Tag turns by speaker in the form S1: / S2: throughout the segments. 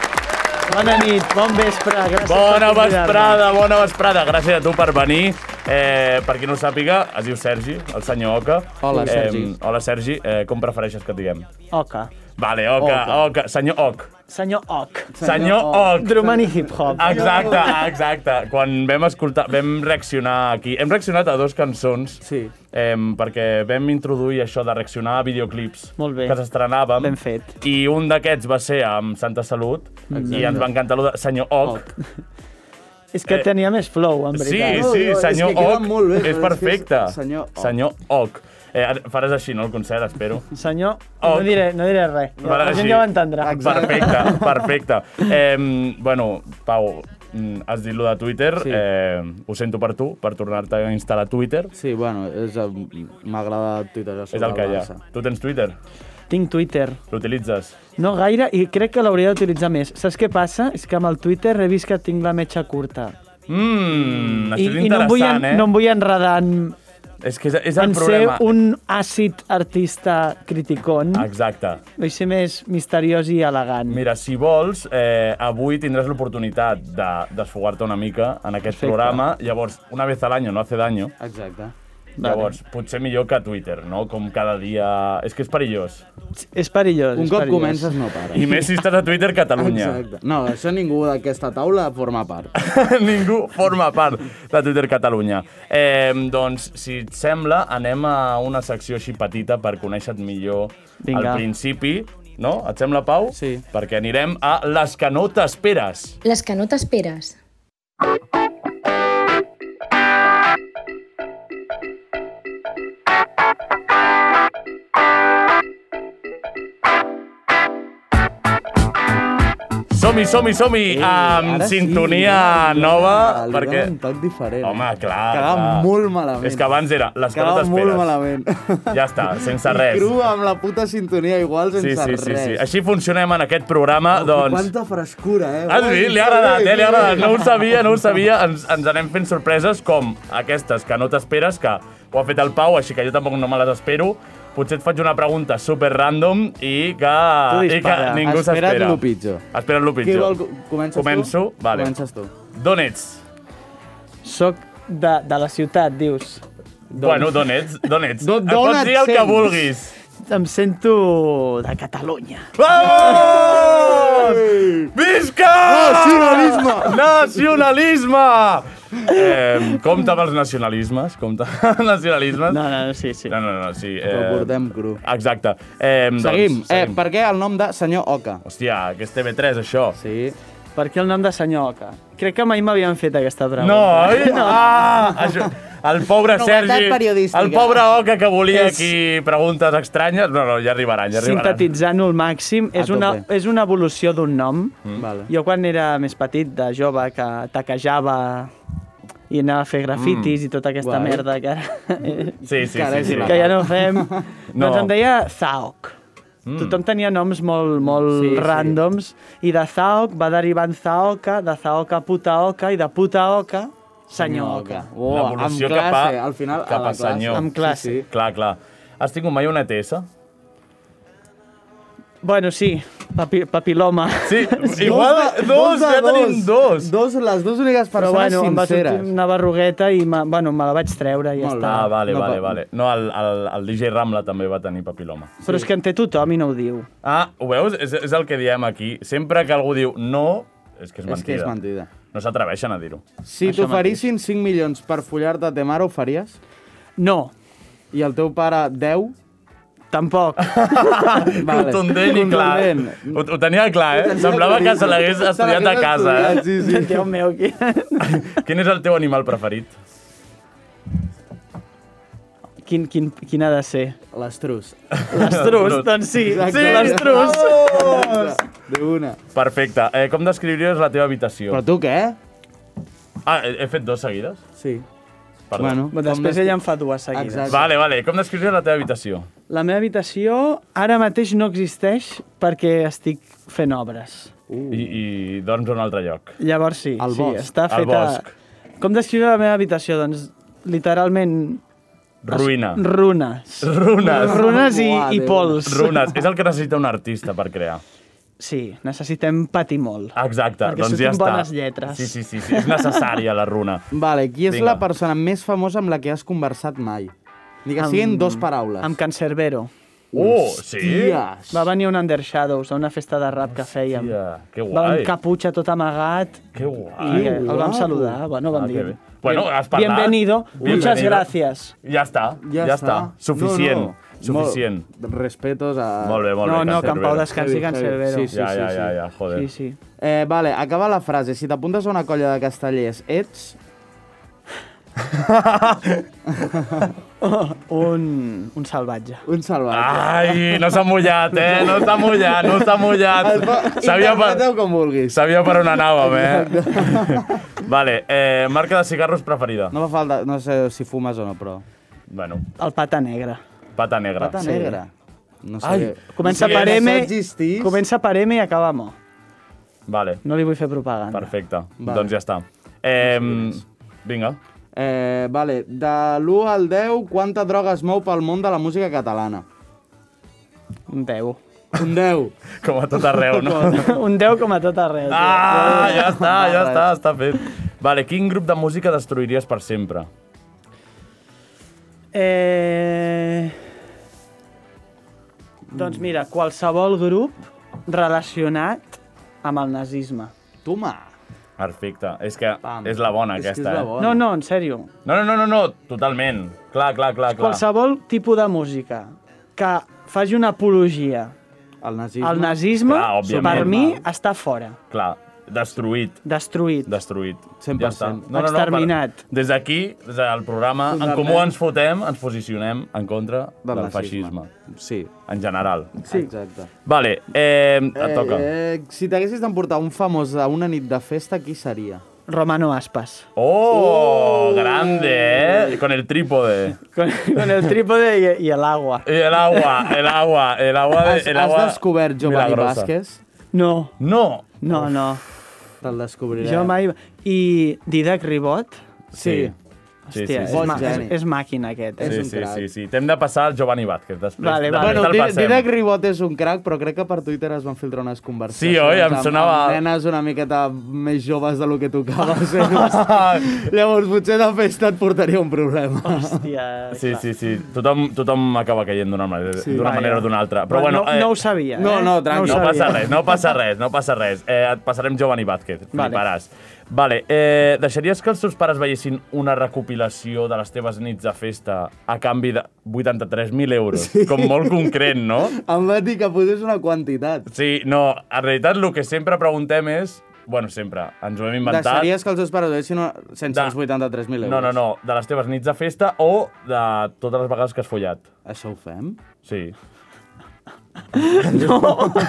S1: Bona nit, bon vespre, gràcies
S2: Bona
S1: per convidar-me.
S3: eh?
S2: vesprada, bona vesprada. Gràcies a tu per venir. Eh, per qui no ho sàpiga, es diu Sergi, el senyor Oca. Eh,
S3: Hola, Sergi.
S2: hola, Sergi. Eh, com prefereixes que et diguem?
S1: Oca,
S2: Vale, Oca, Oca.
S3: Oca.
S2: Senyor Oc.
S1: senyor Oc,
S2: Senyor Oc.
S1: Drumani Hip Hop.
S2: Exacte, exacte. Quan vam escoltar, vam reaccionar aquí. Hem reaccionat a dos cançons.
S3: Sí.
S2: Em, perquè vam introduir això de reaccionar a videoclips
S1: Molt bé.
S2: que s'estrenàvem.
S1: Ben fet.
S2: I un d'aquests va ser amb Santa Salut i ens va encantar el de Senyor Oc.
S1: És que tenia més flow, en
S2: Sí,
S1: veritat.
S2: sí,
S3: No, no,
S2: senyor
S3: és que queda
S2: Oc.
S3: molt bé,
S2: és
S3: però és que és
S2: perfecte.
S3: senyor Oc.
S2: Senyor Oc. Eh, ara faràs així, no, el concert, espero.
S1: Senyor,
S2: Oc.
S1: no diré, no diré res.
S2: Faràs
S1: La gent
S2: així.
S1: ja ho entendrà.
S2: Perfecte, perfecte. Eh, bueno, Pau, mm, has dit lo de Twitter.
S3: Sí.
S2: Eh, ho sento per tu, per tornar-te a instal·lar a Twitter.
S3: Sí, bueno, és... el- m'agrada Twitter.
S2: És el que hi ha. Tu tens Twitter?
S1: Tinc Twitter.
S2: L'utilitzes?
S1: No gaire, i crec que l'hauria d'utilitzar més. Saps què passa? És que amb el Twitter he vist que tinc la metxa curta.
S2: Mmm, això és
S1: I, i no, em vull en,
S2: interessant, eh?
S1: no em vull enredar en,
S2: És que és, és el
S1: en ser
S2: problema.
S1: un àcid artista criticón.
S2: Exacte.
S1: Vull ser més misteriós i elegant.
S2: Mira, si vols, eh, avui tindràs l'oportunitat de desfogar-te una mica en aquest
S1: Perfecte.
S2: programa. Llavors, una vez al año no hace daño.
S3: Exacte.
S1: Vale.
S2: Llavors, potser millor que Twitter, no? Com cada dia... És que és perillós.
S1: És perillós.
S3: Un
S1: és
S3: cop
S1: perillós.
S3: comences no para.
S2: I més si estàs a Twitter Catalunya.
S3: Exacte. No, això ningú d'aquesta taula forma part.
S2: Ningú forma part de Twitter Catalunya. Eh, doncs, si et sembla, anem a una secció així petita per conèixer-te millor
S1: Vinga.
S2: al principi. No? Et sembla, Pau?
S3: Sí.
S2: Perquè anirem a les que no t'esperes.
S4: Les que no t'esperes.
S2: Som-hi, som-hi, som-hi!
S3: Ei,
S2: Eh, amb
S3: Eh, ara sí,
S2: sintonia
S3: ara
S2: nova,
S3: li
S2: perquè...
S3: donen un toc diferent.
S2: Home, clar,
S3: Quedava
S2: clar.
S3: molt malament.
S2: És que abans era les que no
S3: Quedava
S2: t'esperes.
S3: molt malament.
S2: Ja està, sense res.
S3: I cru amb la puta sintonia igual, sense
S2: Sí, sí,
S3: res.
S2: sí, sí. Així funcionem en aquest programa, doncs...
S3: Quanta frescura, eh?
S2: Has vist? Ah, Li ha agradat, eh? Li ha agradat. No ho sabia, no ho sabia. Ens, ens anem fent sorpreses com aquestes que no t'esperes, que ho ha fet el Pau, així que jo tampoc no me les espero. Potser et faig una pregunta super random i que,
S1: Tu
S2: i que
S1: dispara.
S2: ningú s'espera.
S3: Espera't lo pitjor.
S2: Espera't lo
S3: Qui
S2: pitjor.
S3: vol? Comences
S2: Començo?
S3: tu?
S2: Vale.
S3: Comences tu.
S2: D'on ets?
S1: Soc de, de la ciutat, dius.
S2: Bueno, d'on ets? D'on ets?
S3: D'on-
S2: Em
S3: d'on
S2: pots
S3: et
S2: dir el que
S3: sents?
S2: vulguis.
S1: Em sento de Catalunya.
S2: Vamos! Visca!
S3: Nacionalisme!
S2: Nacionalisme! Eh, compte amb els nacionalismes, compte amb els nacionalismes.
S1: No, no, no, sí, sí.
S2: No, no, no, sí. Eh,
S3: Però portem cru.
S2: Exacte. Eh,
S3: Seguim.
S2: Doncs, Mm.
S3: Eh, per què el nom de senyor Oca?
S2: Hòstia, que és TV3, això.
S3: Sí.
S1: Per què el nom de senyoca? Crec que mai m'havien fet aquesta brava.
S2: No, eh? oi? No. Ah, això, el pobre
S5: Novetat
S2: Sergi,
S5: periodística.
S2: el pobre Oca que volia
S1: És-
S2: aquí preguntes estranyes. No, no, ja arribaran, ja arribaran.
S1: Sintetitzant-ho al màxim,
S3: A
S1: és una,
S3: tope.
S1: és una evolució d'un nom.
S3: Mm. Vale.
S1: Jo quan era més petit, de jove, que taquejava i anava a fer grafitis mm. i tota aquesta
S3: Guai.
S1: merda que ara,
S2: Sí, sí,
S3: Carai,
S2: sí. sí.
S3: si la-
S1: que ja no fem.
S2: No.
S1: no. Doncs em deia Zaok. Mm. Tothom tenia noms molt, molt
S3: Sí,
S1: sí,
S3: sí.
S1: ràndoms, i de Zaok va derivar en Zaoka, de Zaoka puta oca, i de puta oca senyor oca.
S3: Oh, amb
S2: L'evolució
S3: classe,
S2: cap a-
S3: al final
S2: cap
S3: a la
S2: a
S3: classe.
S2: senyor.
S1: Amb classe.
S3: Sí, sí.
S2: Clar, clar. Has tingut mai una ETS?
S1: Bueno, sí, papi, papiloma.
S2: Sí, igual dos, ja
S3: de
S2: tenim dos.
S3: Dos, les dues úniques
S1: Però
S3: persones
S1: bueno, em va sortir
S3: sinceres.
S1: una barrugueta i me, bueno, me la vaig treure i ja
S3: Molt
S1: està.
S2: Ah, vale,
S3: No,
S2: vale,
S3: pa-
S2: vale. No, el, el, el DJ Ramla també va tenir papiloma.
S1: Però és que en té tothom i no ho diu.
S2: Ah, ho veus? És, és el que diem aquí. Sempre que algú diu no, és que és mentida.
S3: És que és mentida.
S2: No s'atreveixen a dir-ho.
S3: Si t'oferissin 5 milions per follar-te a te mare, ho faries?
S1: No,
S3: I el teu pare, 10?
S1: tampoc.
S3: Vale.
S2: Contundent i clar.
S3: Contundent.
S2: Ho, ho tenia clar, eh? Semblava que se l'hagués estudiat a casa,
S3: estudiat,
S2: eh?
S3: Sí, sí.
S1: Déu meu, qui...
S2: Quin és el teu animal preferit?
S1: quin, quin, quin ha de ser?
S3: L'estrus.
S1: L'astrus, doncs sí.
S3: Exacte. Oh!
S1: Sí, l'astrus.
S3: De una.
S2: Perfecte. Eh, com descriuries la teva habitació?
S3: Però tu què?
S2: Ah, he, he fet dos seguides?
S3: Sí.
S2: Perdó.
S3: Bueno,
S1: Bueno, Després ella en fa dues seguides.
S3: Exacte.
S2: Vale, vale. Com descriuries la teva habitació?
S1: La meva habitació ara mateix no existeix perquè estic fent obres.
S2: Uh. I, I dorms a un altre lloc.
S1: Llavors sí,
S3: Al
S1: sí,
S3: bosc.
S1: està
S2: Al
S1: feta...
S2: bosc.
S1: Com descriure la meva habitació? Doncs literalment...
S2: Ruïna.
S1: Runes.
S2: Runes.
S1: Runes i,
S3: Uah,
S1: i
S3: Déu.
S1: pols.
S2: Runes. És el que necessita un artista per crear.
S1: Sí, necessitem patir molt.
S2: Exacte,
S1: Perquè
S2: doncs ja
S1: surtin
S2: està.
S1: bones lletres.
S2: Sí, sí, sí, sí. És necessària la runa.
S3: Vale, qui és
S2: Vinga.
S3: la persona més famosa amb la que has conversat mai? Digue,
S1: Amb-
S3: siguin dos paraules.
S1: Amb Cancerbero.
S2: Oh, sí?
S3: Ties.
S1: Va venir un Undershadows a una festa de rap que fèiem.
S2: Hòstia, que
S1: Va amb
S2: guai.
S1: caputxa tot amagat
S2: Que
S1: i
S2: guai.
S1: eh, el vam saludar, bueno, vam
S2: Ah, que
S1: dir...
S2: bé. Bueno, has parlat.
S1: Bienvenido, muchas
S2: Bienvenido.
S1: gracias.
S2: Ja està, ja, està. Suficient, suficient.
S3: Molt, respetos a...
S2: Molt bé, molt
S1: no,
S2: bé.
S1: no,
S2: Can
S1: que en Pau
S2: Cervera.
S1: descansi
S3: Javi,
S1: Can
S3: Javi.
S1: Cerbero.
S3: Sí, sí,
S2: Ja, ja, ja, ja, joder.
S1: sí, sí.
S3: Eh, vale, acaba la frase. Si t'apuntes a una colla de castellers, ets...
S1: Un, un salvatge.
S3: Un salvatge.
S2: Ai, no s'ha mullat, eh? No s'ha mullat, no s'ha mullat. Sabia per,
S3: Interpreteu com vulguis.
S2: sabia per on anàvem, eh? vale, eh, marca de cigarros preferida.
S3: No fa falta... No sé si fumes o no, però...
S2: Bueno,
S1: El pata negre.
S2: pata negra.
S3: Pata negra. No sé...
S2: Ai,
S1: Comença
S2: Sí,
S1: per
S2: no
S1: M,
S3: existís.
S1: comença per M i acaba amb O.
S2: Vale,
S1: No li vull fer propaganda.
S2: perfecte.
S3: Vale.
S2: Doncs ja està. Eh, vinga.
S3: Eh, vale, de l'1 al 10, quanta droga es mou pel món de la música catalana?
S1: Un 10.
S3: Un 10.
S2: Com a tot arreu, no?
S1: un 10 com a tot arreu. Ah.
S2: Ah, ja està, ja està, està fet. Vale, quin grup de música destruiries per sempre?
S1: Eh... Doncs mira, qualsevol grup relacionat amb el nazisme.
S3: Toma.
S2: Perfecte, és que és la bona
S3: és que
S2: aquesta,
S3: és la
S2: eh?
S3: bona.
S1: No, no, en sèrio.
S2: No, no, no, no, no, totalment. Clar, clar, clar, clar.
S1: Qualsevol tipus de música que faci una apologia
S3: El nazisme.
S1: al nazisme,
S2: Clar, òbviament.
S1: per mi, està fora.
S2: Clar, destruït,
S1: Destruït.
S2: destruït.
S3: 100%.
S2: Ja està.
S1: Exterminat.
S2: per- Des d'aquí, des del programa, en
S3: Totalment.
S2: comú ens fotem, ens posicionem en contra del,
S3: nazisme.
S2: feixisme,
S3: Sí,
S2: en general.
S3: sí. exacte.
S2: Vale, eh, et toca.
S3: Eh, eh, si t'haguessis d'emportar un famós a una nit de festa, qui seria?
S1: Romano Aspas.
S2: Oh, grande, eh? Con el trípode.
S1: Con, con el trípode y, y el agua.
S2: Y el agua, el agua, el agua... De,
S3: Has,
S2: el
S3: has
S2: agua
S3: descobert Giovanni
S2: milagrosa.
S3: Vázquez?
S1: No,
S2: No.
S1: no, no.
S3: Te'l descobriré.
S1: Jo mai... I Didac Ribot?
S3: Sí.
S2: Sí,
S1: Hòstia,
S2: sí,
S1: és,
S3: Bon
S1: ma és,
S3: geni.
S1: és màquina aquest. Eh?
S3: És
S2: Sí,
S3: un
S2: sí,
S3: crac.
S2: sí, sí. T'hem de passar al Giovanni Vázquez després.
S1: Vale, vale.
S2: després
S3: Bueno,
S2: te'l
S3: Di-
S2: passem.
S3: Didac Ribot és un crac, però crec que per Twitter es van filtrar unes conversacions.
S2: Sí, oi? Em
S3: amb-
S2: sonava-
S3: Amb nenes una miqueta més joves de lo que tocava. ser. Llavors, potser de festa et portaria un problema.
S1: Hòstia,
S2: Sí,
S1: clar.
S2: sí, sí. Tothom, tothom acaba caient d'una manera, sí, manera o d'una altra. Però bueno,
S1: no, no ho sabia.
S3: no,
S1: eh?
S3: no, tranqui.
S2: no
S1: ho sabia.
S2: passa res, no passa res, no passa res. Eh, et passarem Giovanni Vázquez,
S1: Vale.
S2: fliparàs. Vale, eh, deixaries que els teus pares veiessin una recopilació de les teves nits de festa a canvi de 83.000 euros? Sí. Com molt concret, no?
S3: Em va dir que posés una quantitat.
S2: Sí, no, en realitat el que sempre preguntem és Bueno, sempre. Ens ho hem inventat.
S3: Deixaries que els teus pares veiessin una... sense els 83.000 euros?
S2: No, no, no. De les teves nits de festa o de totes les vegades que has follat.
S3: Això ho fem?
S2: Sí. No.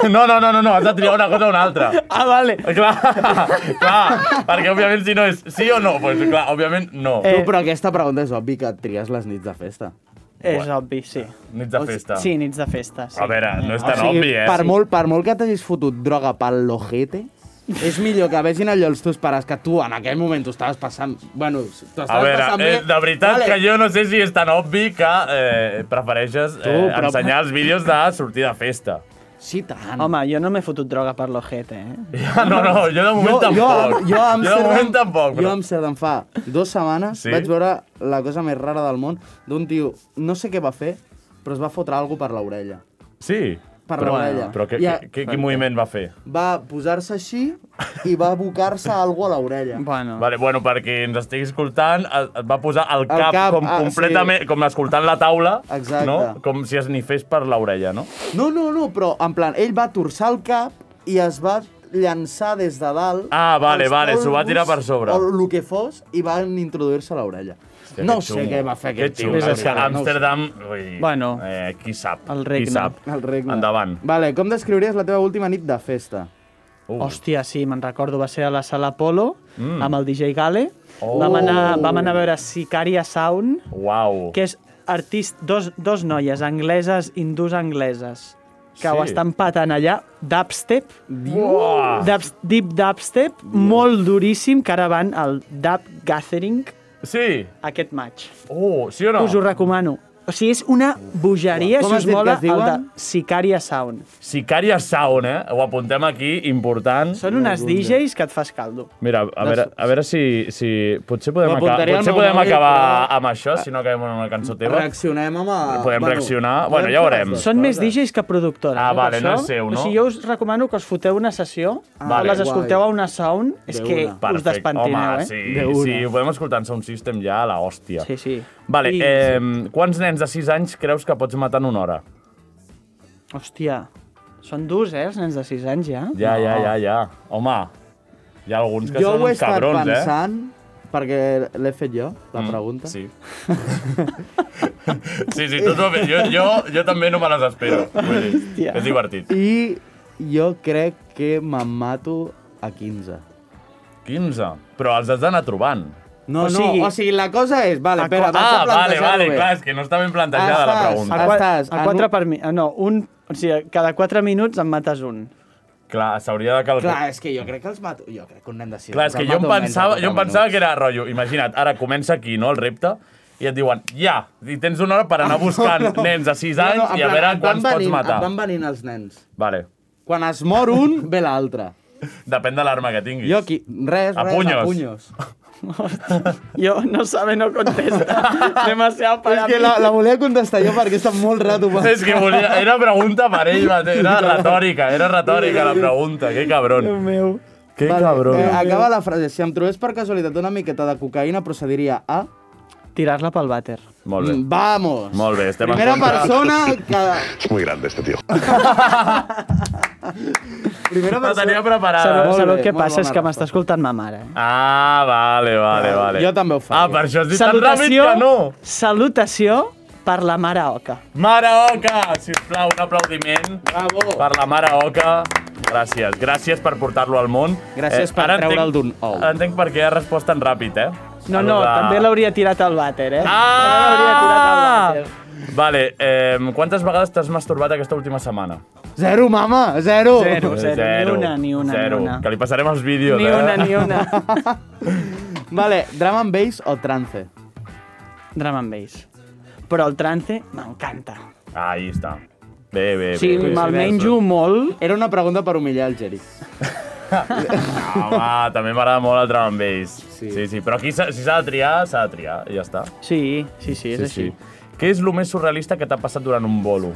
S2: no, no, no, no, no, has de triar una cosa o una altra.
S1: Ah, vale.
S2: Clar, clar, perquè òbviament si no és sí o no, doncs clar, òbviament no.
S3: Eh. Tu, però aquesta pregunta és obvi que tries les nits de festa.
S1: És obvi, sí.
S2: Nits de festa.
S1: Sí, nits de festa, sí.
S2: A veure, no és tan obvi, eh?
S3: per, molt, per molt que t'hagis fotut droga pel l'ojete, és millor que vegin allò els teus pares que tu en aquell moment t'ho estaves passant... Bueno,
S2: A
S3: t'ho estaves
S2: veure,
S3: passant bé...
S2: eh, de veritat que jo no sé si és tan obvi que eh, prefereixes eh,
S3: Tu, però-
S2: ensenyar els vídeos de sortir de festa.
S3: Sí, tant.
S1: Home, jo no m'he fotut droga per l'ojete, eh?
S2: Ja, no, no, jo de moment tampoc.
S3: Jo, jo, a
S2: jo de moment
S3: Amsterdam,
S2: tampoc.
S3: Jo
S2: però-
S3: a Amsterdam fa dues setmanes
S2: Sí?
S3: sí? vaig veure la cosa més rara del món d'un tio, no sé què va fer, però es va fotre alguna per l'orella.
S2: Sí.
S3: Per
S2: però,
S3: l'orella.
S2: Però que,
S3: Ja.
S2: que, que, quin moviment va fer?
S3: Va posar-se així i va abocar-se alguna a l'orella.
S1: Bueno,
S2: Vale, bueno, perquè ens estigui escoltant, es es va posar el cap,
S3: cap,
S2: com
S3: ah,
S2: completament, com escoltant la taula,
S3: Exacte.
S2: no? com si es nifés per l'orella, no?
S3: No, no, no, però en plan, ell va torçar el cap i es va llançar des de dalt...
S2: Ah, vale,
S3: els
S2: vale, s'ho va
S3: polvos
S2: tirar per sobre.
S3: O el que fos, i van introduir-se a l'orella. No sé què va fer aquest
S2: tio.
S3: tio.
S2: Que xungo.
S3: la
S2: És que
S3: veritat, no ho sé.
S2: Amsterdam, ui,
S1: Bueno.
S2: eh, qui sap,
S1: El
S2: qui
S1: regne.
S2: sap.
S3: El regne.
S2: Endavant.
S3: Vale, com descriuries la teva última nit de festa?
S2: Uh,
S1: Hòstia, sí, me'n recordo, va ser a la sala Polo, mm. amb el DJ Gale. Oh. Vam, anar, vam anar a veure Sicaria Sound,
S2: Uau.
S1: que és artist, dos, dos noies angleses, hindús angleses, que sí. ho
S2: Sí.
S1: estan patant allà, dubstep,
S2: Uah.
S1: dubs, deep dubstep, molt duríssim, que ara van al Dub Gathering
S2: Sí.
S1: aquest maig.
S2: Oh, sí o no?
S1: Us ho recomano. O sigui, és una bogeria,
S3: Com
S1: si
S3: has
S1: us
S3: dit que
S1: mola,
S3: es
S1: el de
S3: diuen?
S1: Sicaria Sound.
S2: Sicària Sound, eh? Ho apuntem aquí, important.
S1: Són unes DJs que et fas caldo.
S2: Mira, a veure, a veure si, si... Potser podem,
S3: Ho
S2: acabar,
S3: apuntaré al
S2: potser
S3: meu
S2: podem
S3: mòbil,
S2: acabar
S3: però-
S2: amb això, si no acabem amb una cançó teva.
S3: Reaccionem amb... A...
S2: Podem reaccionar? Bueno, ja
S3: fer
S2: veurem.
S3: les dues
S1: Són més
S3: coses.
S1: DJs que productores.
S2: Ah,
S1: eh, per
S2: vale, no
S1: això.
S2: és seu, no?
S1: O sigui, jo us recomano que us foteu una sessió, ah,
S2: Vale.
S1: les escolteu
S3: Guai.
S1: a una sound, és que us despentineu,
S2: Home,
S1: eh?
S2: sí,
S3: De una.
S2: sí, ho podem escoltar en Sound System ja a la hòstia.
S1: Sí, sí.
S2: Vale,
S1: I-
S2: eh, quants nens de 6 anys creus que pots matar en una hora?
S1: Hòstia, són durs, eh, els nens de 6 anys, ja?
S2: Ja, ja, ja, ja. Home, hi ha alguns que
S3: jo
S2: són
S3: ho he
S2: uns
S3: estat
S2: cabrons,
S3: pensant, perquè l'he fet jo, la
S2: eh?
S3: pregunta.
S2: Sí. sí, sí, tot ho he fet. Jo, jo, jo també no me les espero. Vull dir,
S1: Hòstia.
S2: és divertit.
S3: I jo crec que me'n mato a 15.
S2: 15. Però els has d'anar trobant.
S3: No,
S1: O sigui-
S3: no, o sigui, la cosa és... Vale,
S1: A
S3: espera,
S1: qua-
S3: vas a
S2: Ah, vale,
S3: plantejar-ho
S2: vale,
S3: bé.
S2: clar, és que no està ben plantejada
S3: Estàs-
S2: la pregunta.
S1: A,
S3: Ah,
S1: qua
S3: estàs
S1: a
S3: en
S1: 4
S3: un-
S1: per mi... ah, No, un... O sigui, cada 4 minuts en mates un.
S2: Clar, s'hauria de calcular.
S3: Clar, és que jo crec que els mato... Jo crec que un nen de 6
S2: Clar, és que jo em pensava, jo em pensava que era rotllo. Imagina't, ara comença aquí, no?, el repte, i et diuen, ja, i tens una hora per anar buscant nens a 6 anys i a veure quants pots matar.
S3: Et van venint els nens.
S2: Vale.
S3: Quan es mor un, ve l'altre.
S2: Depèn de l'arma que tinguis.
S3: Jo aquí, res,
S2: A
S3: res,
S2: punyos.
S3: a punyos.
S1: Jo no sabe, no contesta. Demasiado para
S3: És que
S1: mi.
S3: la, la volia contestar jo perquè està molt rato.
S2: És que volia... Era pregunta per ell mateix, era retòrica, era retòrica la pregunta, que cabron.
S1: Déu meu.
S2: Que
S3: Vale,
S2: cabron.
S3: Eh, acaba la frase. Si em trobés per casualitat una miqueta de cocaïna, procediria a...
S1: Tirar-la pel vàter.
S2: Molt bé.
S3: Mm, Vamos!
S2: Molt bé, estem en
S3: Primera
S2: contra.
S3: persona que...
S5: Es muy grande este tío.
S3: Primera
S2: La tenia
S3: persona...
S2: preparada.
S1: Sabeu,
S3: molt
S1: sabeu
S3: bé,
S1: què
S3: molt
S1: passa?
S3: bona
S1: És que m'està
S3: resposta.
S1: escoltant ma mare. eh?
S2: Ah, vale, vale, vale.
S3: Jo també ho faria.
S2: Ah, per això has dit tan ràpid que no.
S1: salutació per la mare Oca.
S2: Mare Oca, sisplau, un aplaudiment.
S3: Bravo!
S2: per la mare Oca. Gràcies, gràcies per portar-lo al món. Eh,
S3: Gràcies per
S2: ara entenc-
S3: treure'l d'un ou.
S2: Ara entenc per què ha respost tan ràpid, eh?
S1: No,
S2: El
S1: no,
S2: de-
S1: també l'hauria tirat al vàter, eh? També l'hauria tirat al
S2: Ah!
S1: vàter.
S2: Vale, eh, quantes vegades t'has masturbat aquesta última setmana?
S3: Zero, mama! Zero!
S1: Zero, zero, ni una, ni una,
S2: zero.
S1: ni una.
S2: Que li passarem els vídeos,
S1: Ni
S2: eh?
S1: una, ni una.
S3: Vale, drum and bass o trance?
S1: Drum and bass. Però el trance m'encanta.
S2: Ahí està. Bé, bé,
S1: O sigui,
S2: bé. bé.
S1: me'l menjo molt.
S3: Era una pregunta per humillar el Geri.
S2: Home, Ah, també m'agrada molt el drum and bass. Sí, sí, sí. però aquí s'ha- si s'ha de triar, s'ha de triar, i ja està.
S1: Sí, sí, sí, és així.
S2: Què és el més surrealista que t'ha passat durant un bolo?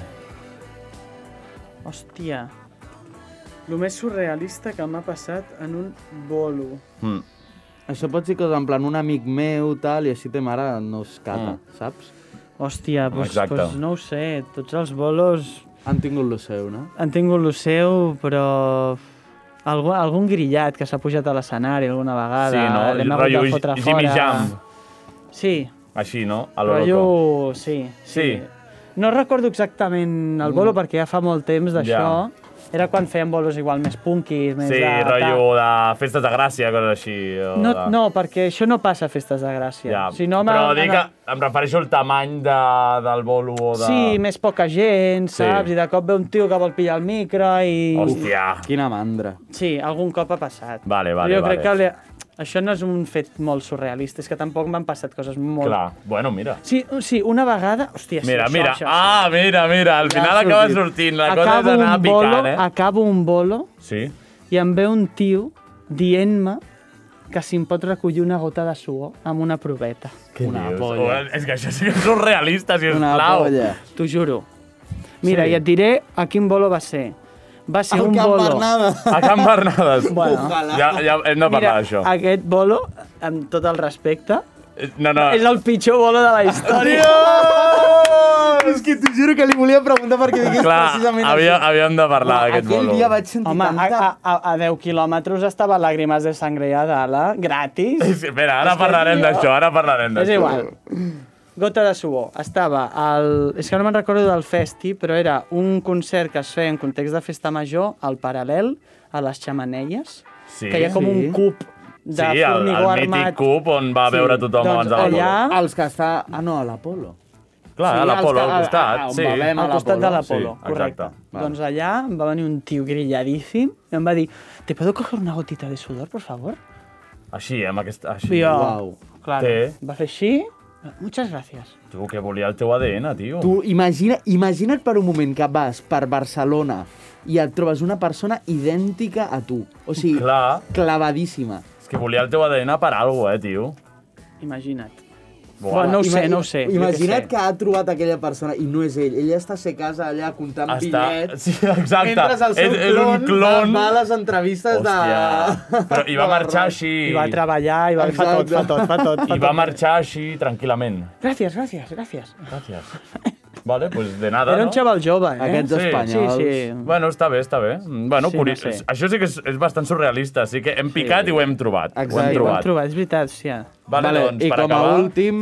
S1: Hòstia. El més surrealista que m'ha passat en un bolo.
S2: Mm.
S3: Això pot ser cosa en plan un amic meu, tal, i així te mare no es cata,
S2: Mm.
S3: saps?
S1: Hòstia, doncs,
S2: Exacte.
S1: doncs no ho sé. Tots els bolos
S3: Han tingut lo seu, no?
S1: han tingut lo seu, però... Algú, algun grillat que s'ha pujat a l'escenari alguna vegada.
S2: Sí, no?
S1: L'hem hagut
S2: Rotllo
S1: de fotre
S2: Jimmy
S1: fora.
S2: Jam.
S1: Sí,
S2: Així, no? A lo loco.
S1: rotllo... Sí, sí,
S2: Sí.
S1: No recordo exactament el bolo, perquè ja fa molt temps d'això. Era quan feien bolos igual més punkis, més
S2: Sí,
S1: de...
S2: rotllo de festes de gràcia, coses així. o
S1: No,
S2: de...
S1: no, perquè això no passa a festes de Gràcia.
S2: Ja.
S1: Si no,
S2: Però
S1: m'ha-
S2: dic que
S1: m'ha-
S2: em refereixo al tamany de, del bolo o de...
S1: Sí, més poca gent,
S2: Sí.
S1: saps? I de cop ve un tio que vol pillar el micro i...
S2: Hòstia.
S3: Quina mandra.
S1: Sí, algun cop ha passat.
S2: Vale, vale,
S1: Però jo
S2: vale.
S1: crec que le- això no és un fet molt surrealista, és que tampoc m'han passat coses molt...
S2: Clar. Bueno, mira.
S1: Sí, sí, una vegada... Hòstia, sí,
S2: Mira,
S1: això,
S2: mira.
S1: Això,
S2: Ah, mira, mira. Al final acaba sortint. La cosa és anar
S1: un bolo,
S2: picant, eh?
S1: Acabo un bolo
S2: Sí.
S1: i em ve un tio dient-me que si em pot recollir una gota de suor amb una proveta.
S2: Què
S3: Una
S2: dius?
S3: polla.
S2: Ua, És que això sí que és surrealista, si us
S3: Una
S2: plau.
S3: polla.
S1: T'ho juro. Mira,
S2: Sí.
S1: sí. i et diré a quin bolo va ser. Va ser
S3: El
S1: un
S3: Camp
S1: bolo...
S3: Bernada.
S2: A Can Bernades.
S1: Bueno.
S2: Ja, ja hem de parlar d'això.
S1: aquest bolo, amb tot el respecte,
S2: No, no.
S1: és el pitjor bolo de la història.
S3: És que t'ho juro que li volia preguntar perquè digués
S2: Clar,
S3: precisament
S2: havia,
S3: això.
S2: havíem de parlar d'aquest
S3: Aquell
S2: bolo.
S3: dia vaig sentir
S1: Home, a,
S3: tanta...
S1: a, a, a 10 quilòmetres estava Làgrimes de Sangre i Adala, gratis.
S2: Sí, Espera, ara parlarem d'això, ara parlarem
S1: És
S2: d'això.
S1: igual. Gota de suor. Estava al... És que no me'n recordo del festi, però era un concert que es feia en context de festa major, al paral·lel, a les xamanelles,
S2: Sí.
S1: que hi ha com un cub de
S2: sí, el, el
S1: formigó
S2: mític
S1: armat.
S2: cub on va veure tothom
S1: doncs
S2: abans de l'Apolo.
S1: allà- a-
S3: Els que està... Ah, no, a l'Apolo.
S2: Clar,
S3: Sí,
S2: a l'Apolo,
S3: els que-
S2: al costat,
S3: ah, on
S2: sí.
S3: va haver-
S1: Al costat de
S3: Apolo.
S1: l'Apolo,
S2: Sí,
S1: correcte.
S2: exacte.
S1: Doncs allà em va venir un tio grilladíssim i em va dir ¿Te puedo coger una gotita de sudor, por favor?
S2: Així, eh, amb aquest... Així.
S1: I jo,
S3: Uau.
S1: claro,
S2: Té.
S1: va fer així, muchas gracias.
S2: Tu, que volia el teu ADN, tio.
S3: Tu imagina, imagina't per un moment que vas per Barcelona i et trobes una persona idèntica a tu. O sigui,
S2: Clar.
S3: clavadíssima.
S2: És que volia el teu ADN per algo, eh, tio.
S1: Imagina't.
S2: Buah.
S1: Bueno, no ho sé,
S3: Imagi-
S1: no ho sé. jo què
S3: Imagina't
S1: sé.
S3: que ha trobat aquella persona i no és ell. Ella està a ser casa allà comptant
S2: Està...
S3: bitllets.
S2: Sí, exacte.
S3: Mentre el seu
S2: és, és un
S3: clon
S2: clon.
S3: va a les entrevistes
S2: Hòstia.
S3: de...
S2: Però hi va marxar així.
S1: I va treballar, i va fer
S3: Exacte.
S1: tot, fa tot, fa tot. Fa
S2: I va
S1: tot.
S2: marxar així, tranquil·lament.
S1: Gràcies, gràcies, gràcies.
S2: Gràcies. Vale, pues de nada,
S1: Era un
S2: no?
S1: xaval jove, eh?
S3: Aquests
S2: Sí, sí,
S1: Sí,
S3: espanyols.
S1: sí.
S2: Bueno, està bé, està bé. Mm, Bueno,
S1: Sí,
S2: sí,
S1: no
S2: curi...
S1: sé.
S2: Això sí que és, és bastant surrealista, sí que hem picat sí. i ho hem trobat. Ho hem
S3: Exacte.
S1: Sí, vam
S2: trobat.
S1: trobar, és veritat, hòstia.
S2: Vale, vale, doncs,
S3: I
S2: per
S3: com
S2: acabar...
S3: a últim,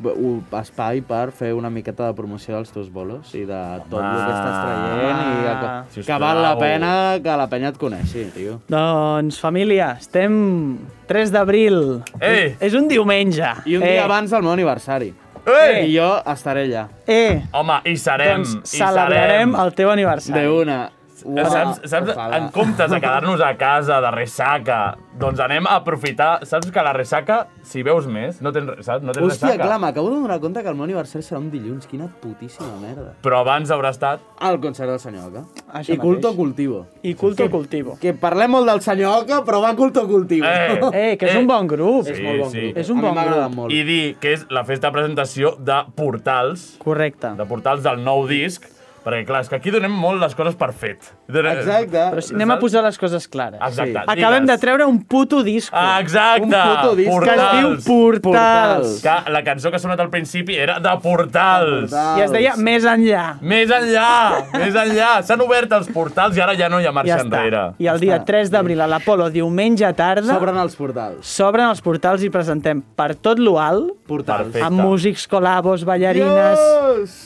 S3: b- u- espai per fer una miqueta de promoció dels teus bolos i de tot el que estàs traient i de,
S1: Home.
S3: que,
S2: Sisplau.
S3: que val la pena que la penya et coneixi, tio.
S1: Doncs, família, estem 3 d'abril.
S2: Ei!
S1: És un diumenge.
S3: I un
S1: eh,
S3: eh. dia abans del meu aniversari.
S2: Ei!
S3: I jo estaré allà.
S1: Eh,
S2: Home, hi serem,
S1: doncs
S2: hi serem.
S1: celebrarem el teu aniversari.
S3: De una. Uah,
S2: saps, saps,
S3: ojalà.
S2: en comptes de quedar-nos a casa de ressaca, doncs anem a aprofitar... Saps que la ressaca, si veus més, no tens, saps? No tens
S3: Hòstia,
S2: ressaca.
S3: clar, m'acabo d'adonar compte que el meu aniversari serà un dilluns. Quina putíssima merda.
S2: Però abans haurà estat...
S3: Al concert del senyor Oca.
S1: Això
S3: I culto
S1: mateix.
S3: cultivo.
S1: I culto cultivo.
S3: Que parlem molt del senyor Oca, però va culto cultivo.
S2: Eh,
S1: Eh, que és un bon grup.
S2: Sí,
S3: és molt bon
S2: sí.
S3: grup.
S1: És un
S3: A mi
S1: bon
S3: m'ha agradat
S1: grup.
S3: molt.
S2: I dir que és la festa de presentació de portals,
S1: Correcte.
S2: de portals del nou disc, perquè clar, és que aquí donem molt les coses per fet.
S3: Exacte.
S1: Però si anem a posar les coses clares.
S2: Exacte, digues. Ah,
S1: Acabem de treure un puto disco.
S2: Exacte!
S3: Un puto disc
S1: Que es diu
S2: Portals.
S1: Portals.
S3: Portals.
S2: Que la cançó que ha sonat al principi era de portals.
S1: I es deia Més enllà.
S2: Més enllà, més enllà. S'han obert els portals i ara ja no hi ha marxa
S1: Ja està.
S2: enrere.
S1: I el dia 3 d'abril a l'Apolo, diumenge tarda,
S3: S'obren els portals.
S1: s'obren els portals i presentem per tot l'UAL,
S3: Portals.
S2: Perfecte.
S1: amb músics, colabos, ballarines...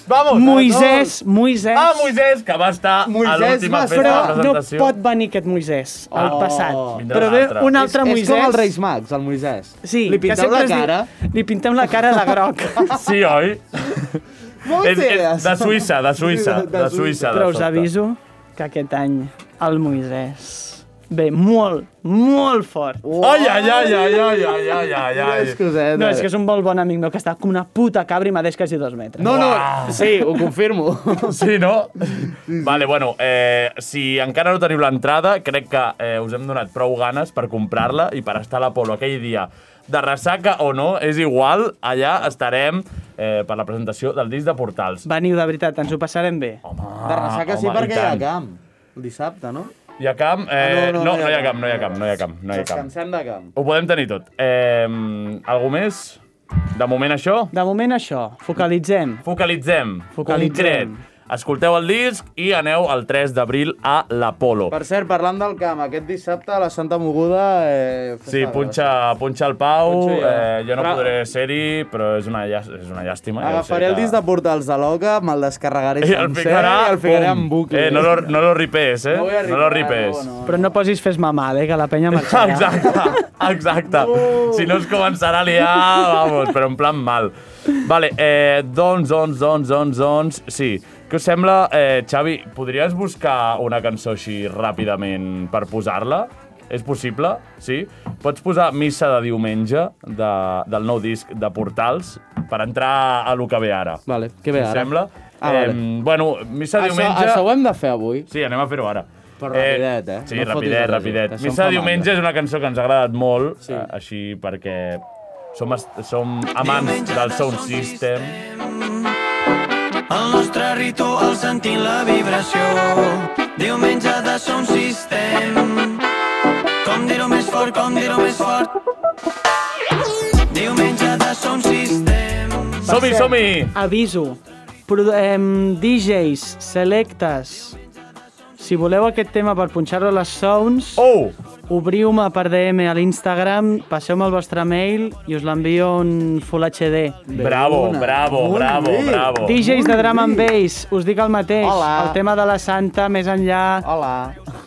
S2: Vamos!
S1: Moisès, Moisès...
S2: Ah, Moisés, que va estar a
S3: Moisès
S2: l'última
S3: va
S2: festa de
S1: Però
S3: estar-
S1: no
S2: presentació. Ah,
S1: pot venir aquest Moisès, o el
S3: Oh.
S1: passat.
S2: Vindrà
S1: Però ve
S2: l'altre.
S1: un
S3: És,
S1: altre
S3: és
S1: Moisès...
S3: com els Reis Mags, el Moisès.
S1: Sí,
S3: Li
S1: que
S3: pinteu
S1: sempre
S3: la
S1: es diu-
S3: cara.
S1: Li pintem la cara de groc.
S2: Sí, oi?
S3: Moltes
S2: És, és
S3: idees.
S2: de Suïssa, de Suïssa,
S3: Sí, de- de
S2: de Suïssa.
S1: Però
S2: de
S1: us
S2: sobte.
S1: aviso que aquest any el Moisès ve molt, molt fort.
S2: Ai, ai, ai, ai, ai, ai, ai, ai,
S3: Tres
S2: ai.
S3: cosetes.
S1: No, és que és un molt bon amic meu que està com una puta cabra i m'adeix quasi dos metres.
S3: No, no,
S2: Uau.
S3: sí, ho confirmo.
S2: Sí, no? Vale, bueno, eh, si encara no teniu l'entrada, crec que eh, us hem donat prou ganes per comprar-la i per estar a l'Apolo aquell dia. De ressaca o no, és igual, allà estarem eh, per la presentació del disc de Portals.
S1: Veniu, de veritat, ens ho passarem bé.
S2: Home,
S3: De ressaca sí,
S2: Ah, home,
S3: perquè
S2: i
S3: hi ha
S2: tant.
S3: camp. El dissabte, no?
S2: Hi ha camp? Eh, no, no, no, hi ha camp, no hi ha camp, no hi ha camp. No hi ha camp.
S3: Descansem de camp.
S2: Ho podem tenir tot. Eh, algú més? De moment això?
S1: De moment això, focalitzem.
S2: Focalitzem.
S1: Focalitzem.
S2: Concret. Escolteu el disc i aneu el 3 d'abril a l'Apolo.
S3: Per cert, parlant del camp, aquest dissabte a la Santa Moguda... Eh, festa
S2: Sí,
S3: de
S2: punxa, punxa el Pau,
S3: Punxo jo.
S2: eh, jo no
S3: Però-
S2: podré ser-hi, però és una, llà- és una llàstima. jo
S3: Agafaré
S2: sé
S3: el
S2: que-
S3: disc de Portals de l'Oca, me'l descarregaré
S2: I el
S3: sencer
S2: ficarà,
S3: i el ficaré
S2: pum.
S3: en bucle.
S2: Eh, no lo, no lo ripes, eh?
S3: No voy a
S2: no lo
S3: ripar,
S2: ripes.
S3: no, no.
S1: Però no posis fes mamada, eh, que la penya marxarà.
S2: Exacte, exacte. Si no es començarà a liar, vamos, però en plan mal. Vale, eh, doncs, doncs, doncs, doncs, doncs, sí. Què us sembla, eh, Xavi, podries buscar una cançó així ràpidament per posar-la? És possible? Sí? Pots posar Missa de diumenge de, del nou disc de Portals per entrar a lo que ve ara.
S3: Vale, què ve
S2: Us
S3: ara?
S2: sembla?
S3: Ah, vale.
S2: Em, bueno, Missa de
S3: Això,
S2: diumenge...
S3: això ho hem de fer avui.
S2: Sí, anem a fer-ho ara.
S3: Però rapidet, eh?
S2: Sí,
S3: No
S2: no
S3: fotis
S2: rapidet,
S3: res,
S2: rapidet.
S3: que això em
S2: Missa
S3: fa
S2: de diumenge
S3: mandra.
S2: és una cançó que ens ha agradat molt,
S3: Sí.
S2: sí. així perquè som, es- som amants del Sound System.
S5: El nostre ritual sentint la vibració Diumenge de Sound System Com dir-ho més fort, com dir-ho més fort Diumenge de Sound System
S2: Som-hi, som-hi!
S1: Aviso. Pro, em, DJs, selectes, si voleu aquest tema per punxar-lo a les sounds, oh.
S2: Oh!
S1: obriu-me per DM a l'Instagram, passeu-me el vostre mail i us l'envio en Full HD.
S2: Oh. Bravo,
S3: una.
S2: bravo,
S3: Molt
S2: bravo,
S3: bé.
S2: bravo.
S1: DJs de Drum and Bass, us dic el mateix.
S3: Hola.
S1: El tema de la Santa, més enllà,
S3: Hola.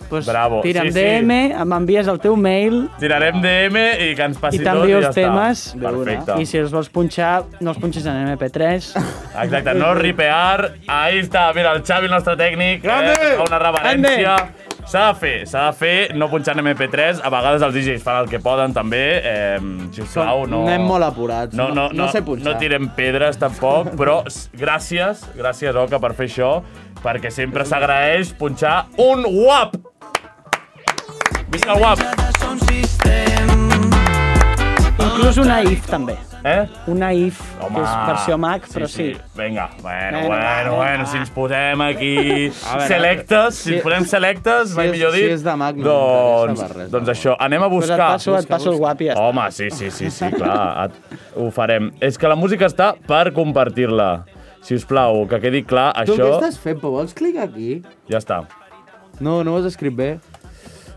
S1: pues,
S2: Oh, Bravo,
S1: tira'm
S2: sí, sí.
S1: DM, m'envies el teu mail
S2: Tirarem DM i que ens passi
S1: I
S2: tot
S1: t'envio
S2: i ja
S1: els
S2: està.
S1: temes.
S2: Perfecte.
S1: i si els vols punxar, no els punxis en MP3.
S2: Exacte, no ripear. Ahí està, mira, el Xavi, el nostre tècnic, eh,
S3: Grande!
S2: fa una reverència. S'ha de fer, s'ha de fer, no punxant MP3. A vegades els DJs fan el que poden, també. Eh, sisplau, no...
S3: Anem molt apurats.
S2: No, no, no,
S3: no, sé
S2: no
S3: punxar.
S2: tirem pedres, tampoc, però s- gràcies, gràcies, Oca, per fer això, perquè sempre s'agraeix punxar un guap! Visca el guap!
S1: Inclús una IF, també.
S2: Eh?
S1: Una IF,
S2: Home,
S1: que és versió Mac, però sí.
S2: Vinga, bueno,
S1: Bueno,
S2: bueno, bueno,
S1: va,
S2: si ens posem aquí selectes, si, ens posem selectes, mai
S3: és-
S2: millor
S3: si
S2: dit,
S3: és de Mac, no
S2: doncs,
S3: m'interessa per res,
S2: doncs
S3: no.
S2: això, anem a
S1: Pues et
S2: buscar.
S1: passo, et passo el guapi. Ja.
S2: Home, sí, sí, sí, sí, clar, et, ho farem. És que la música està per compartir-la. Si us plau, que quedi clar,
S3: Tu
S2: això
S3: què estàs fent, Pau? Vols clicar aquí?
S2: ja està.
S3: No, no ho has escrit bé.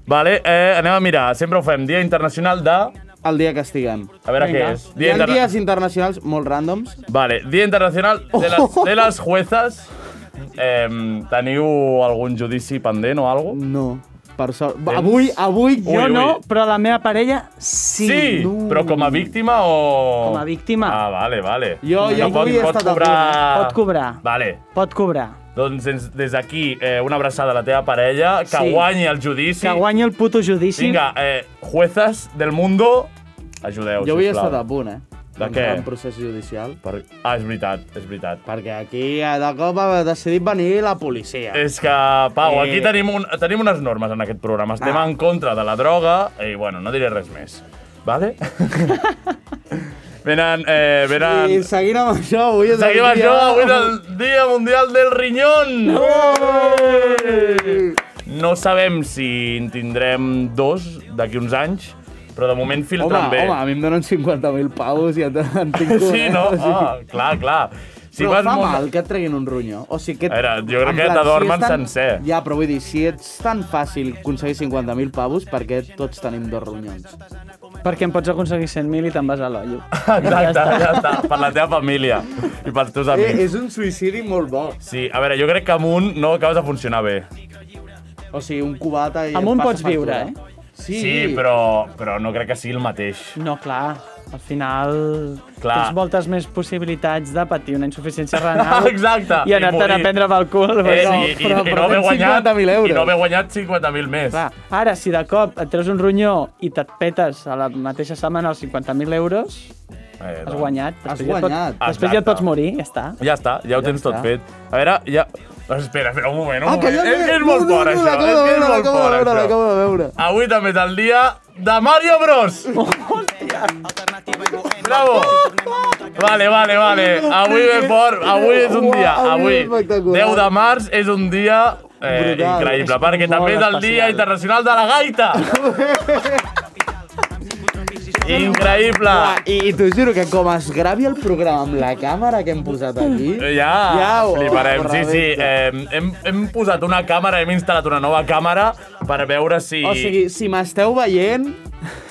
S2: Vale, eh, anem a mirar. Sempre ho fem. Dia Internacional de...
S3: El dia que estiguem.
S2: A veure què és.
S3: Hi ha
S2: Interna-
S3: dies internacionals molt ràndoms.
S2: Vale, Dia Internacional de les, de les Juezas. Eh, teniu algun judici pendent o alguna cosa?
S3: No, per sort. Avui, avui
S2: Ui,
S1: Jo
S2: ui.
S1: no, però la meva parella sí.
S2: Sí,
S3: no.
S2: però com a víctima o...
S1: Com a víctima.
S2: Ah, vale, vale.
S3: Jo- jo
S2: pot,
S3: avui eh? he
S2: pot
S3: estat a
S2: cobrar...
S1: punt. Pot cobrar.
S2: Vale.
S1: Pot cobrar.
S2: Doncs ens- des d'aquí, eh, una abraçada a la teva parella, que
S1: Sí.
S2: guanyi el judici.
S1: Sí. Que guanyi el puto judici.
S2: Vinga, eh, juezas del mundo, ajudeu,
S3: Jo avui he
S2: sisplau.
S3: estat a punt, eh?
S2: De
S3: D'entrar
S2: què?
S3: En procés judicial.
S2: Per... Ah, és veritat, és veritat.
S3: Perquè aquí eh, de cop ha decidit venir la policia.
S2: És que, Pau,
S3: Eh. Ah.
S2: aquí tenim, un, tenim unes normes en aquest programa. Estem en contra de la droga i, bueno, no diré res més. Vale? venen, eh, venen...
S3: I seguint amb això, avui és el
S2: Seguim
S3: dia...
S2: això, avui és el Dia Mundial del Rinyón! Eh! No sabem si en tindrem dos d'aquí uns anys, però de moment
S3: Home,
S2: filtren bé.
S3: home, a mi em donen 50.000 paus i en, en tinc un,
S2: Sí,
S3: eh?
S2: no?
S3: O sigui,
S2: Ah, clar, clar. Si
S3: però
S2: vas
S3: fa
S2: molt-
S3: mal que et treguin un ronyó. O sigui, que...
S2: A veure, jo crec
S3: en
S2: que
S3: plan,
S2: t'adormen
S3: és tan-
S2: sencer.
S3: Ja, però vull dir, si ets tan fàcil aconseguir 50.000 pavos, perquè tots tenim dos ronyons.
S1: Perquè em pots aconseguir 100.000 i te'n vas a l'ollo.
S2: Exacte, ja està. Per la teva família i pels teus
S3: Eh,
S2: amics.
S3: és un suïcidi molt bo.
S2: Sí, a veure, jo crec que amb un no acabes de funcionar bé.
S3: O sigui, un cubata i...
S1: Amb
S3: et
S1: un
S3: passa
S1: pots viure, eh?
S3: factura. Sí,
S2: Sí, però, però no crec que sigui el mateix.
S1: No, clar. Al final
S2: Clar.
S1: tens moltes més possibilitats de patir una insuficiència renal
S2: Exacte,
S1: i
S2: i
S1: anar-te'n a
S2: morir.
S1: prendre pel cul.
S2: Eh,
S1: però-
S2: i, i,
S3: però-
S2: i,
S3: però
S2: no haver
S3: tens
S2: guanyat,
S3: 50.000 euros.
S2: I no haver guanyat 50.000 més.
S1: Clar, ara, si de cop et treus un ronyó i te't petes a la mateixa setmana els 50.000 euros,
S2: Eh,
S1: has
S2: doncs.
S1: guanyat.
S3: Has
S1: Després ja et pot-
S3: guanyat.
S1: Després ja et
S2: Exacte.
S1: pots morir, ja està.
S2: Ja està, ja ho tens tot
S3: està.
S2: fet. A veure, ja... Espera, espera, un moment, un
S3: Ah, que
S2: moment.
S3: jo...
S2: és que és molt
S3: no,
S2: fort,
S3: no, no,
S2: això.
S3: l'acabo
S2: És
S3: de
S2: que és
S3: veure,
S2: molt
S3: l'acabo de
S2: fort,
S3: veure,
S2: això.
S3: l'acabo de veure.
S2: Avui també és el dia de Mario Bros. Bravo! Vale, vale, vale. Avui ve fort, avui és un dia.
S3: Uau, avui
S2: Avui,
S3: és espectacular.
S2: 10 de març, és un dia eh,
S3: Brutal.
S2: increïble,
S3: És
S2: perquè
S1: molt
S2: també és el
S1: especial.
S2: Dia Internacional de la Gaita. Increïble!
S3: Ah, I, I t'ho juro que com es gravi el programa amb la càmera que hem posat aquí...
S2: Ja, ja
S3: Ja ho-
S2: fliparem. Sí, sí.
S3: correcte.
S2: Eh, hem, hem posat una càmera, hem instal·lat una nova càmera per veure si...
S3: O sigui, si m'esteu veient,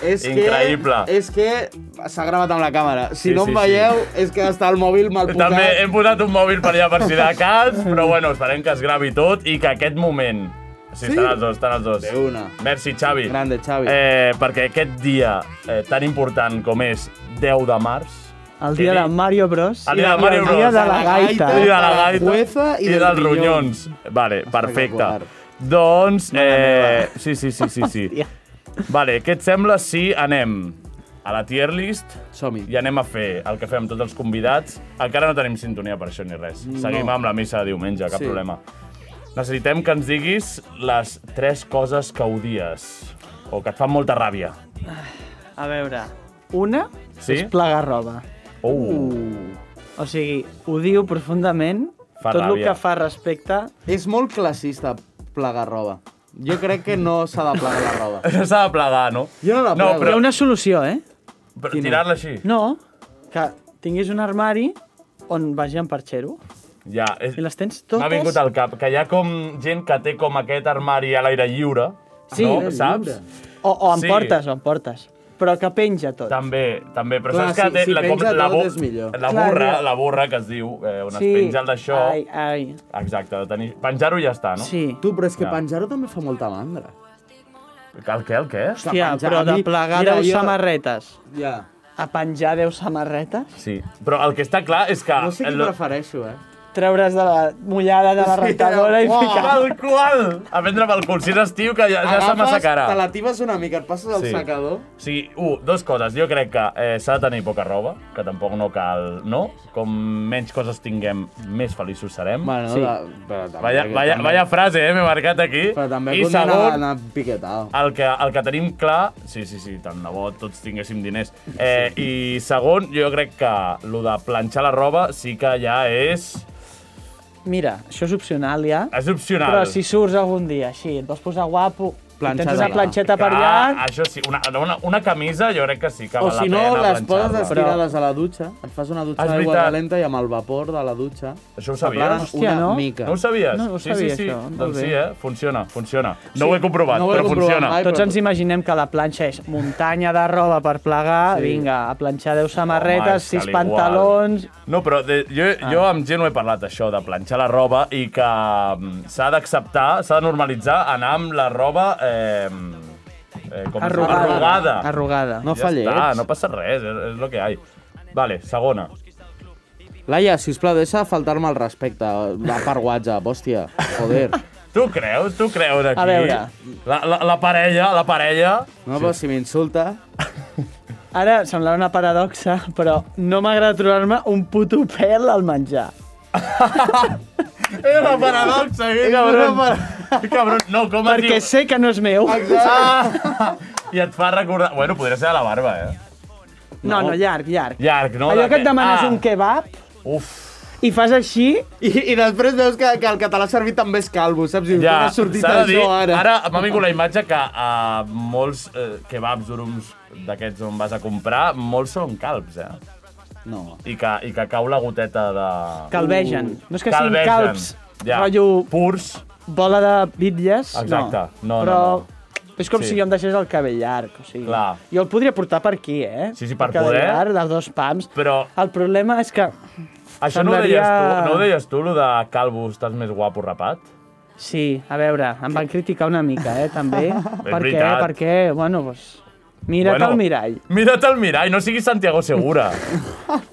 S3: és
S2: Increïble.
S3: que... És que s'ha gravat amb la càmera. Si
S2: Sí,
S3: no em
S2: sí,
S3: veieu, és que està el mòbil mal posat.
S2: També hem posat un mòbil per allà per si de cas, però bueno, esperem que es gravi tot i que aquest moment... Sí, sí. estan els dos, estan els dos.
S3: De una.
S2: Merci, Xavi.
S3: Grande, Xavi.
S2: Eh, perquè aquest dia eh, tan important com és 10 de març...
S1: El dia de Mario Bros.
S2: El
S1: i
S2: dia de Mario
S1: El dia
S2: Bros.
S1: de la gaita.
S2: El dia de la gaita.
S3: Jueza i
S2: i
S3: dels
S2: dels ronyons.
S3: ronyons.
S2: Vale, perfecte.
S3: Espectacular.
S2: Doncs... Eh, sí, sí, sí, sí, sí. Vale, què et sembla si anem a la tier list
S3: Som-hi.
S2: i anem a fer el que fem tots els convidats. Encara no tenim sintonia per això ni res. Seguim amb la missa de diumenge, cap
S3: Sí.
S2: problema. Necessitem que ens diguis les tres coses que odies o que et fan molta ràbia.
S1: A veure, una
S2: Sí?
S1: és plegar roba.
S2: Uh,
S1: O sigui, odio profundament
S2: Fa
S1: tot el
S2: ràbia.
S1: que fa respecte...
S3: És molt classista plegar roba. Jo crec que no s'ha de plegar la roba.
S2: S'ha de plegar, no?
S3: Jo no
S2: No,
S3: la plego.
S1: Hi
S2: però,
S1: ha una solució, eh?
S2: però tirar-la així.
S1: No, que tinguis un armari on vagi amb parxero
S2: Ja, és,
S1: i les tens
S2: M'ha
S1: totes...
S2: vingut al cap que hi ha com gent que té com aquest armari a l'aire lliure,
S1: Sí.
S2: no? saps?
S1: O, o en
S2: Sí.
S1: sí. portes, o en portes. Però que penja tot.
S2: També, també, però
S3: Clar,
S2: saps que
S3: si-
S2: té
S3: si
S2: la, com,
S3: penja
S2: la,
S3: tot
S2: bu-
S3: és millor.
S2: la
S1: Clar,
S2: burra,
S1: ja.
S2: la burra que es diu, eh, on es penja el d'això.
S1: Ai, ai.
S2: Exacte, de tenir... penjar-ho i ja està, no?
S1: Sí.
S3: Tu, però és que
S2: Ja.
S3: penjar-ho també fa molta mandra.
S2: El què, el què?
S1: Hòstia,
S3: penjar,
S1: però
S3: a
S1: de
S3: mi-
S1: plegar
S3: mira,
S1: 10
S3: jo-
S1: samarretes.
S3: Ja.
S1: A penjar 10 samarretes?
S2: Sí, però el que està clar és que...
S3: No sé qui
S2: Ah, el-
S3: prefereixo, eh?
S1: Treure's de la mullada de la rentadora i
S3: uau.
S1: ficar...
S2: Tal qual! A prendre pel cul, si eres tio, que ja, ja se m'assecarà.
S3: te la tibes una mica, et passes al
S2: Sí.
S3: secador...
S2: O sigui, un, dues coses. Jo crec que eh, s'ha de tenir poca roba, que tampoc no cal, no? Com menys coses tinguem, més feliços serem.
S3: Bueno, sí. la, però també,
S2: Vaya, vaya,
S3: també,
S2: vaya frase, eh? M'he marcat aquí.
S3: Però també
S2: I
S3: condena
S2: segon,
S3: anar piquetao.
S2: el que, el que tenim clar... Sí, sí, sí, tant de bo tots tinguéssim diners. Eh, I segon, jo crec que lo de planxar la roba sí que ja és...
S1: Mira, això és opcional, ja.
S2: És opcional.
S1: Però si surts algun dia així, et vols posar guapo,
S3: Planxa
S1: Planxa
S3: de
S1: tens una
S3: mà.
S1: planxeta per
S2: Clar,
S1: allà...
S2: això sí, una, una, una camisa jo crec que sí que
S3: O
S2: val
S3: si
S2: la
S3: no,
S2: pena
S3: les poses
S2: planxar-la.
S3: estirades a la dutxa, et fas una dutxa
S2: És
S3: d'aigua
S2: veritat.
S3: calenta i amb el vapor de la dutxa...
S2: Això ho sabies?
S3: t'aplanen Una
S1: Hòstia, no?
S3: mica.
S2: No ho sabies?
S1: No, no ho
S2: sí,
S1: sabia,
S2: sí, sí.
S1: això. Molt
S2: Doncs sí,
S1: bé.
S2: eh? Funciona, funciona. No ho he comprovat,
S3: no ho he
S2: però
S3: comprovat
S2: funciona.
S3: mai.
S1: Tots ens imaginem que la planxa és muntanya de roba per plegar, sí. vinga, a planxar 10
S2: és
S1: samarretes,
S2: que
S1: 6
S2: l'igual.
S1: pantalons... Ah.
S2: No, però de, jo, jo amb gent ho he parlat, això, de planxar la roba i que mm, s'ha d'acceptar, s'ha de normalitzar anar amb la roba eh, eh, com es diu? arrugada.
S1: Arrugada.
S3: No eh?
S2: Ja
S3: fa
S2: està,
S3: lleig.
S2: no passa res, és, és el que hi ha. Vale, segona.
S3: Laia, sisplau, deixa de faltar-me el respecte. Va per WhatsApp, hòstia, joder.
S2: Tu creus, tu creus aquí?
S1: A veure.
S2: La, la, la parella, la parella...
S3: No, però si m'insulta...
S1: Ara semblarà una paradoxa, però no m'agrada trobar-me un puto pèl al menjar.
S2: Era una paradoxa, que
S1: cabron.
S2: Que cabron. Eh, No, com es
S1: Eh, Perquè
S2: diu?
S1: sé que no és meu.
S2: Ah! I et fa recordar... Bueno, podria ser a la barba, eh?
S1: No, no, llarg, llarg.
S2: Llarg, no?
S1: Allò
S2: De
S1: que et demanes
S2: ah,
S1: un kebab
S2: Uf,
S1: i fas així,
S3: I, I després veus que, que el català servit també és calvo, saps? I
S2: ja,
S3: ja, ha sortit
S2: s'ha de
S3: això
S2: dir...
S3: ara.
S2: Ara m'ha vingut la imatge que a molts eh, kebabs durums d'aquests on vas a comprar, molts són calbs, eh?
S3: No.
S2: I que, i que cau la goteta de...
S1: calvegen. No és que siguin
S2: Uh, Calvegen.
S1: calbs,
S2: Ja.
S1: rotllo
S2: Purs.
S1: bola de bitlles.
S2: Exacte. No, no,
S1: Però
S2: no.
S1: és com
S2: Sí.
S1: si jo em deixés el cabell llarg. O sigui,
S2: Clar.
S1: Jo el podria portar per aquí, eh?
S2: Sí, sí, per
S1: el cabell
S2: poder.
S1: llarg, de dos pams.
S2: Però-
S1: El problema és que...
S2: Això no ho
S1: Semblaria-
S2: deies tu, no ho deies tu, lo de calvo, estàs més guapo rapat?
S1: Sí, a veure, em van criticar una mica, eh, també. per què?
S2: veritat.
S1: Perquè, bueno, doncs... Mira't
S2: Bueno,
S1: al mirall.
S2: Mira't al mirall, no siguis Santiago Segura.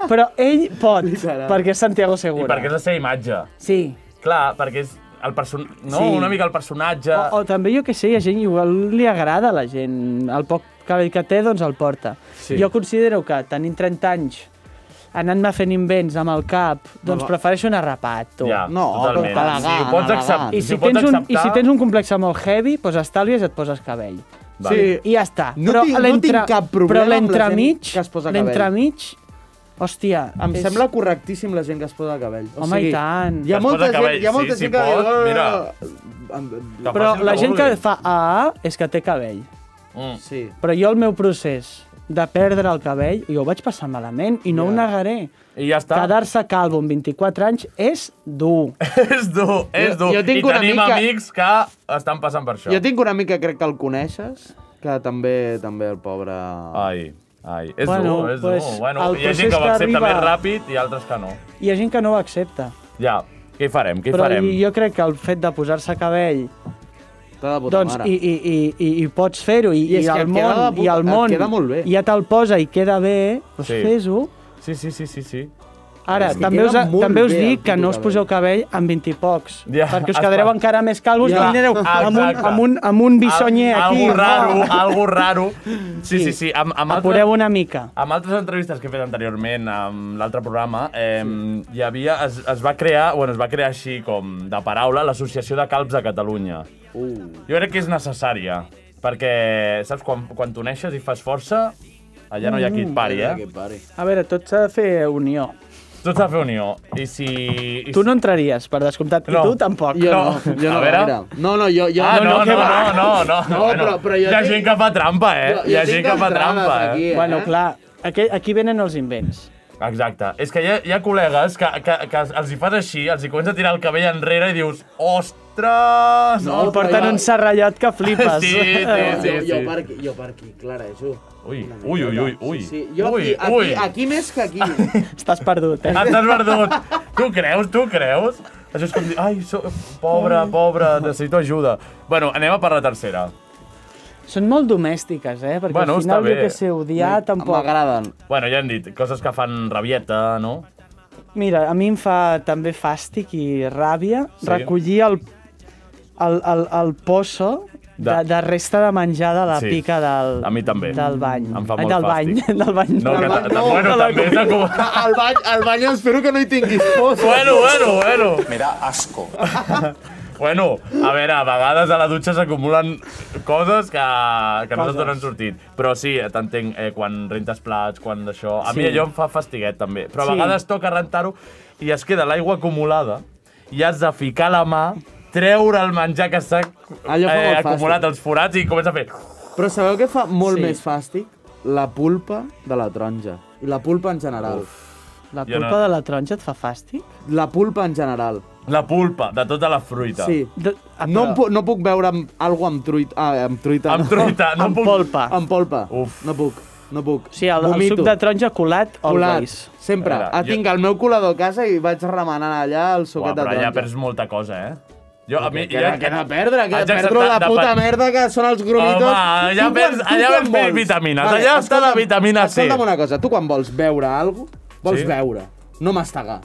S1: Però ell pot,
S3: Literal.
S1: perquè és Santiago
S2: I
S1: Segura.
S2: perquè és la seva imatge.
S1: Sí.
S2: Clar, perquè és el person... no?
S1: Sí.
S2: una mica el personatge...
S1: O, o també, jo que sé, hi ha gent, igual li agrada a la gent. El poc cabell que té, doncs el porta.
S2: Sí.
S1: Jo considero que, tenint 30 anys, anant-me fent invents amb el cap, doncs prefereixo anar rapat, tu.
S2: Ja,
S3: No,
S2: totalment.
S3: però elegant,
S2: si ho pots
S3: elegant.
S2: acceptar,
S1: I
S2: si,
S1: si,
S2: ho pots
S1: tens un,
S2: acceptar...
S1: I si tens un complexe molt heavy, doncs estalvies i et poses cabell.
S2: Vale.
S3: Sí.
S1: I ja està.
S3: No tinc- no tinc cap problema
S1: però
S3: amb la gent
S1: l'entremig,
S3: que es posa cabell.
S1: l'entremig, hòstia,
S3: Em
S1: és-
S3: sembla correctíssim la gent que es posa cabell. O
S1: Home, i tant.
S3: Hi ha
S2: Que es
S3: molta
S2: posa
S3: gent,
S2: cabell,
S3: hi ha molta
S2: sí,
S3: gent
S2: si
S3: que...
S2: pot,
S3: diu,
S2: mira.
S3: "Ah, em- em-
S2: Que
S1: Però
S2: faci el
S1: la gent que
S2: vulgui. Mm.
S1: fa AA és que té cabell.
S3: Sí.
S1: Però jo el meu procés de perdre el cabell, jo ho vaig passar malament i no yeah. ho negaré.
S2: I ja està.
S1: Quedar-se calvo amb 24 anys és dur.
S2: És dur, és
S3: Jo-
S2: dur.
S3: jo tinc
S2: I
S3: una
S2: tenim
S3: mica-
S2: amics que estan passant per això.
S3: Jo tinc un amic que crec que el coneixes, que també també el pobre...
S2: Ai, ai. És
S1: Bueno,
S2: dur, és
S1: pues,
S2: dur. Bueno,
S1: el
S2: hi ha gent
S1: procés
S2: que ho
S1: que
S2: accepta
S1: arriba-
S2: més ràpid i altres que no.
S1: Hi ha gent que no ho accepta.
S2: Ja, què hi farem? Què hi
S1: Però
S2: farem?
S1: jo crec que el fet de posar-se cabell
S3: T'ha de puta
S1: Doncs,
S3: mare.
S1: i, i, i, i, i pots fer-ho, i,
S3: I
S1: i,
S3: és que
S1: el
S3: et
S1: món,
S3: queda de
S1: i
S3: puta-
S1: el
S3: et
S1: món,
S3: queda molt bé.
S1: ja te'l posa i queda bé, doncs
S2: Sí.
S1: sí. fes-ho.
S2: Sí, sí, sí, sí, sí.
S1: Ara,
S3: que
S1: també
S3: queda
S1: us,
S3: molt
S1: també us
S3: bé el
S1: dic que no us
S3: puto
S1: poseu cabell amb 20 i pocs,
S2: Ja,
S1: perquè us
S2: es
S1: quedareu
S2: fa-
S1: encara més calvos
S2: Ja,
S1: i anireu amb un,
S2: exacte.
S1: amb un, amb un bisonyer
S2: Al-
S1: aquí.
S2: Algo raro,
S1: no?
S2: algo raro. Sí, sí, sí. Amb, amb altres-
S1: Apureu una mica.
S2: Amb altres entrevistes que he fet anteriorment amb l'altre programa, eh, hi havia, es, es va crear, bueno, es va crear així com de paraula, l'Associació de Calbs de Catalunya. Uh. Jo crec que és necessària, perquè, saps, quan, quan t'uneixes i fas força, allà no hi ha qui et pari, eh?
S1: A veure, tot s'ha de fer unió.
S2: Tot s'ha de fer unió. I si... I
S1: Tu no entraries, per descomptat,
S2: No.
S1: i tu tampoc.
S3: Jo
S2: No.
S3: no, jo no,
S2: A veure.
S3: gaire. No, no, jo... jo
S2: Ah, no, no,
S3: que
S2: no,
S3: va.
S2: no, no, no.
S3: No, però- però jo
S2: hi ha
S3: tinc-
S2: gent que fa trampa, eh?
S3: Jo- jo
S2: hi ha
S3: tinc
S2: gent que fa
S3: entrades
S2: trampa,
S3: aquí,
S2: eh?
S3: eh?
S1: Bueno, clar, aquí, aquí venen els invents.
S2: Exacte. És que hi ha, hi ha col·legues que, que, que els hi fas així, els hi comença a tirar el cabell enrere i dius ostres!
S3: No,
S1: Oh,
S3: però
S1: Porten
S3: jo-
S1: un serrallot que flipes.
S2: Sí, sí,
S3: Jo,
S2: sí.
S3: jo,
S2: sí.
S3: per aquí, jo per aquí, clarejo.
S2: Ui,
S3: Una
S2: ui, ui,
S3: miqueta.
S2: ui, ui.
S3: Sí, sí. Jo
S2: ui,
S3: aquí, aquí,
S2: ui.
S3: aquí més que aquí.
S1: Estàs perdut, eh?
S2: Estàs perdut. tu creus, tu creus? Això és com dir, ai, so, pobre, pobre, necessito ajuda. Bueno, anem a per la tercera.
S1: Són molt domèstiques, eh? Perquè
S2: Bueno,
S1: al
S2: està
S1: final, jo
S2: bé.
S1: que sé, odiar tampoc...
S3: M'agraden.
S2: Bueno, ja hem dit, coses que fan rabieta, no?
S1: Mira, a mi em fa també fàstic i ràbia
S2: Sí.
S1: recollir el, el, el, el pozo de,
S2: De-
S1: de resta de menjar de la
S2: Sí.
S1: pica del,
S2: A mi també.
S1: del bany.
S2: Em fa
S1: Ai,
S2: molt
S1: del bany,
S2: fàstic.
S1: del bany.
S2: No, que
S1: del
S2: ta,
S1: bany.
S2: ta, bueno, també és de com...
S3: Al bany, al bany espero que no hi tinguis por.
S2: Bueno, bueno, bueno.
S5: Me da asco.
S2: Bueno, a veure, a vegades a la dutxa s'acumulen coses que, que no
S1: Coses.
S2: se't donen sortit. Però sí, t'entenc, eh, quan rentes plats, quan d'això... A mi
S1: Sí.
S2: allò em fa fastiguet, també. Però a
S1: Sí.
S2: vegades toca rentar-ho i es queda l'aigua acumulada i has de ficar la mà, treure el menjar que s'ha eh,
S3: Allò fa molt
S2: acumulat
S3: fàstic.
S2: als forats i comença a fer...
S3: Però sabeu què fa molt
S1: Sí.
S3: sí. més fàstic? La pulpa de la taronja. I la pulpa en general. Uf.
S1: La
S2: Jo no-
S1: pulpa de la taronja et fa fàstic?
S3: La pulpa en general.
S2: La pulpa de tota la fruita.
S3: Sí.
S1: De, ah,
S3: No,
S1: però-
S3: em pu- no puc beure amb, alguna amb truita. Ah, amb truita.
S2: Amb truita, no
S1: amb
S2: puc...
S1: polpa.
S3: Amb polpa.
S2: Uf.
S3: No puc. No puc.
S1: O sigui, el, el suc de taronja colat,
S3: Colat.
S1: always.
S3: Sempre.
S2: A veure,
S3: Ah,
S2: jo-
S3: tinc el meu colador a casa i vaig remenant allà el
S2: Uah,
S3: suquet de
S2: però allà
S3: taronja.
S2: perds molta cosa, eh? Jo, a mi...
S3: Que, ja, que no perdre, que
S2: Haig
S3: perdre
S2: d'acceptar-
S3: la
S2: de
S3: puta
S2: pa-
S3: merda que són els grumitos.
S2: Home, allà
S3: Tu quan-
S2: perds-
S3: tu
S2: allà
S3: quan
S2: vas perdent
S3: vols-
S2: vitamines, allà està la vitamina C.
S3: Escolta'm una cosa, tu quan vols beure alguna cosa, vols
S2: Sí.
S3: sí. beure, no mastegar.